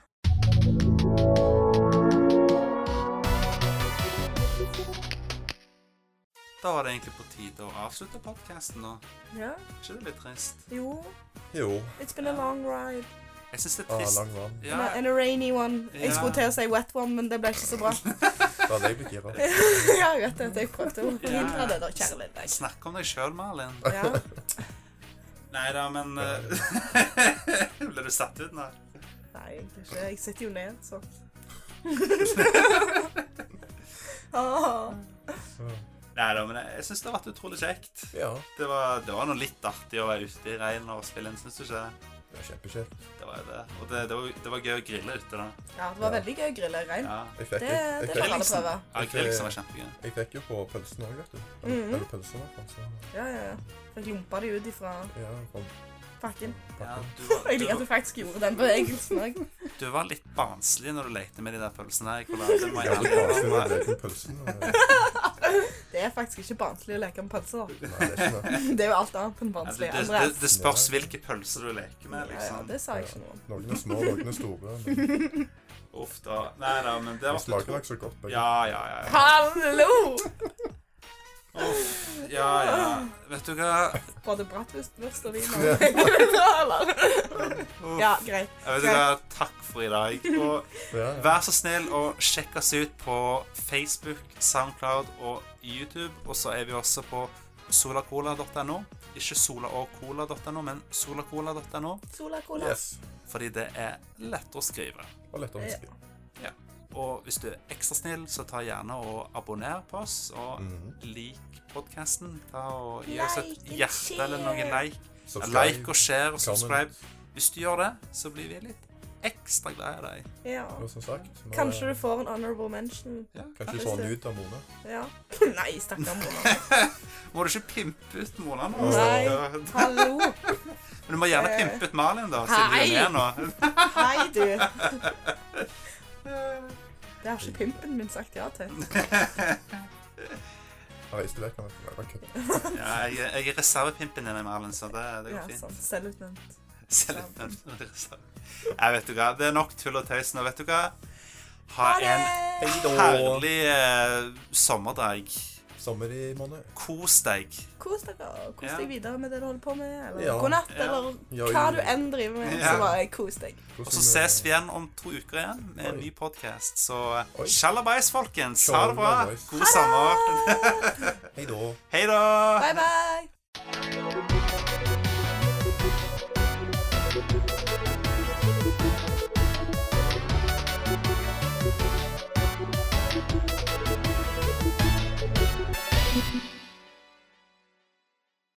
S1: Da var det egentlig på tide å avslutte podkasten, da.
S3: Ja.
S1: Er ikke det litt trist?
S3: Jo,
S2: Jo.
S3: it's been a long ride.
S1: Jeg syns det er
S2: Ah,
S1: trist.
S2: lang vann.
S1: Ja,
S3: And a- And a rainy one.
S1: Ja.
S3: Jeg skulle til å si wet one, men det ble
S1: [laughs]
S3: ikke så bra.
S2: Da hadde jeg blitt gira.
S3: ja, jeg vet det. Jeg prøvde å forhindre det, da, kjære lille deg.
S1: snakk om deg sjøl,
S2: [laughs]
S1: Malin.
S3: Ja.
S1: Nei da, men eh, [laughs] Ble du satt ut nå?
S3: Nei, egentlig ikke. Jeg sitter jo ned,
S1: [laughs]
S3: så ah,
S1: Nei da, men jeg, jeg syns det har vært utrolig kjekt.
S2: Ja.
S1: Det var, det var noe litt artig å være ute i regnet og spille inn, syns du ikke?
S2: Det er kjempekjekt.
S1: Det var jo det. Og det, det, var, det var gøy å grille ute, da.
S3: Ja, det var veldig gøy å grille rein.
S1: Ja,
S2: Jeg fikk,
S3: Det,
S2: jeg,
S3: det
S2: fikk,
S3: får alle prøve.
S1: ja grilling som var kjempegøy.
S2: jeg fikk jo på pølsen òg, vet du. Eller,
S3: Mhm.
S2: eller pølser, i hvert fall. Så
S3: Ja, ja, ja. Jeg lumpa det ut ifra
S2: ja, kom.
S3: pakken.
S1: Ja,
S2: pakken.
S1: du, var,
S3: Jeg
S1: du,
S3: liker at du faktisk gjorde den bevegelsen òg.
S1: var- du var litt barnslig når du lekte med de der pølsene her. Nicolai. Det må
S2: Jeg
S1: jeg ærlig
S2: hadde bare sånn før jeg
S1: innrømme.
S2: lekte med pølsen. og-
S3: Det er faktisk ikke barnslig å leke med pølser. da.
S2: Nei, det er ikke det.
S3: Det er jo alt annet enn
S1: Ja,
S3: barnslig.
S1: Altså, det, det, det,
S3: Andreas.
S1: det spørs hvilke pølser du leker med,
S3: Ja, ja,
S1: liksom.
S3: det sa jeg ikke noe om.
S2: Noen er små, noen er store. Men
S1: Uff da. Nei da, men det
S2: de
S1: var
S2: smaker nok så godt, begge.
S1: Ja, ja, ja. ja.
S3: Hallo!
S1: Uff. Ja, ja. Vet du hva?
S3: Var det bratwurst og vin? [laughs] eller?
S1: Uff.
S3: ja, greit.
S1: Jeg vet du hva? Takk for i dag. Og
S2: Ja, ja.
S1: vær så snill å sjekke oss ut på Facebook, Soundcloud og YouTube. Og så er vi også på solacola.no. Ikke solaogcola.no, men solacola.no.
S3: Sola cola.
S2: Yes.
S1: Fordi det er lett å skrive.
S2: Og lett å huske.
S1: Og hvis du er ekstra snill, så ta gjerne og abonner på oss, og
S2: Mhm.
S1: lik podkasten. Ta og gi oss et
S3: Like and
S1: hjerte eller noe
S3: share.
S1: like.
S2: Subscribe.
S1: Like og share og subscribe.
S2: comment.
S1: Hvis du gjør det, så blir vi litt ekstra glad i
S3: [laughs]
S1: deg.
S3: Ja.
S2: Og som sagt nå er-
S3: Kanskje du får en honorable mention.
S1: Ja,
S2: Kanskje
S3: Hvis
S2: få
S3: det-
S2: den ut av Mona.
S3: Ja. [laughs] Nei, stakkar Mona.
S1: Må du ikke pimpe ut Mona nå?
S3: Nei.
S2: [laughs]
S1: altså?
S3: Hallo.
S1: Men du må gjerne pimpe ut Malin, da, siden hun er med nå.
S3: Hei, du. Det har ikke pimpen min sagt ja til.
S2: Jeg reiste vekk nå. Jeg bare kødder.
S1: [laughs] Ja, jeg, jeg er reservepimpen din, Malin, så det, det
S3: Ja,
S1: går fint.
S3: sant. Selvutnevnt.
S1: Selv [laughs] om den er reserve. Jeg vet du hva, det er nok tull og tøys nå, vet du hva. Ha en herlig eh, sommerdag.
S2: Sommer i måned.
S1: Kos deg.
S3: Kos dere. og Kos
S1: Ja.
S3: deg videre med det du holder på med. Eller
S2: Ja.
S3: god natt,
S1: Ja.
S2: Ja,
S3: eller hva du enn driver med.
S1: Ja.
S3: Så bare kos deg.
S1: Og så ses vi igjen om to uker igjen med en
S2: Oi.
S1: ny podkast. Så
S2: Oi.
S1: sjalabais, folkens. Ha det bra.
S2: Sjalabais.
S1: God sommer.
S2: Hei da.
S1: [laughs] Hei da.
S3: Bye, bye.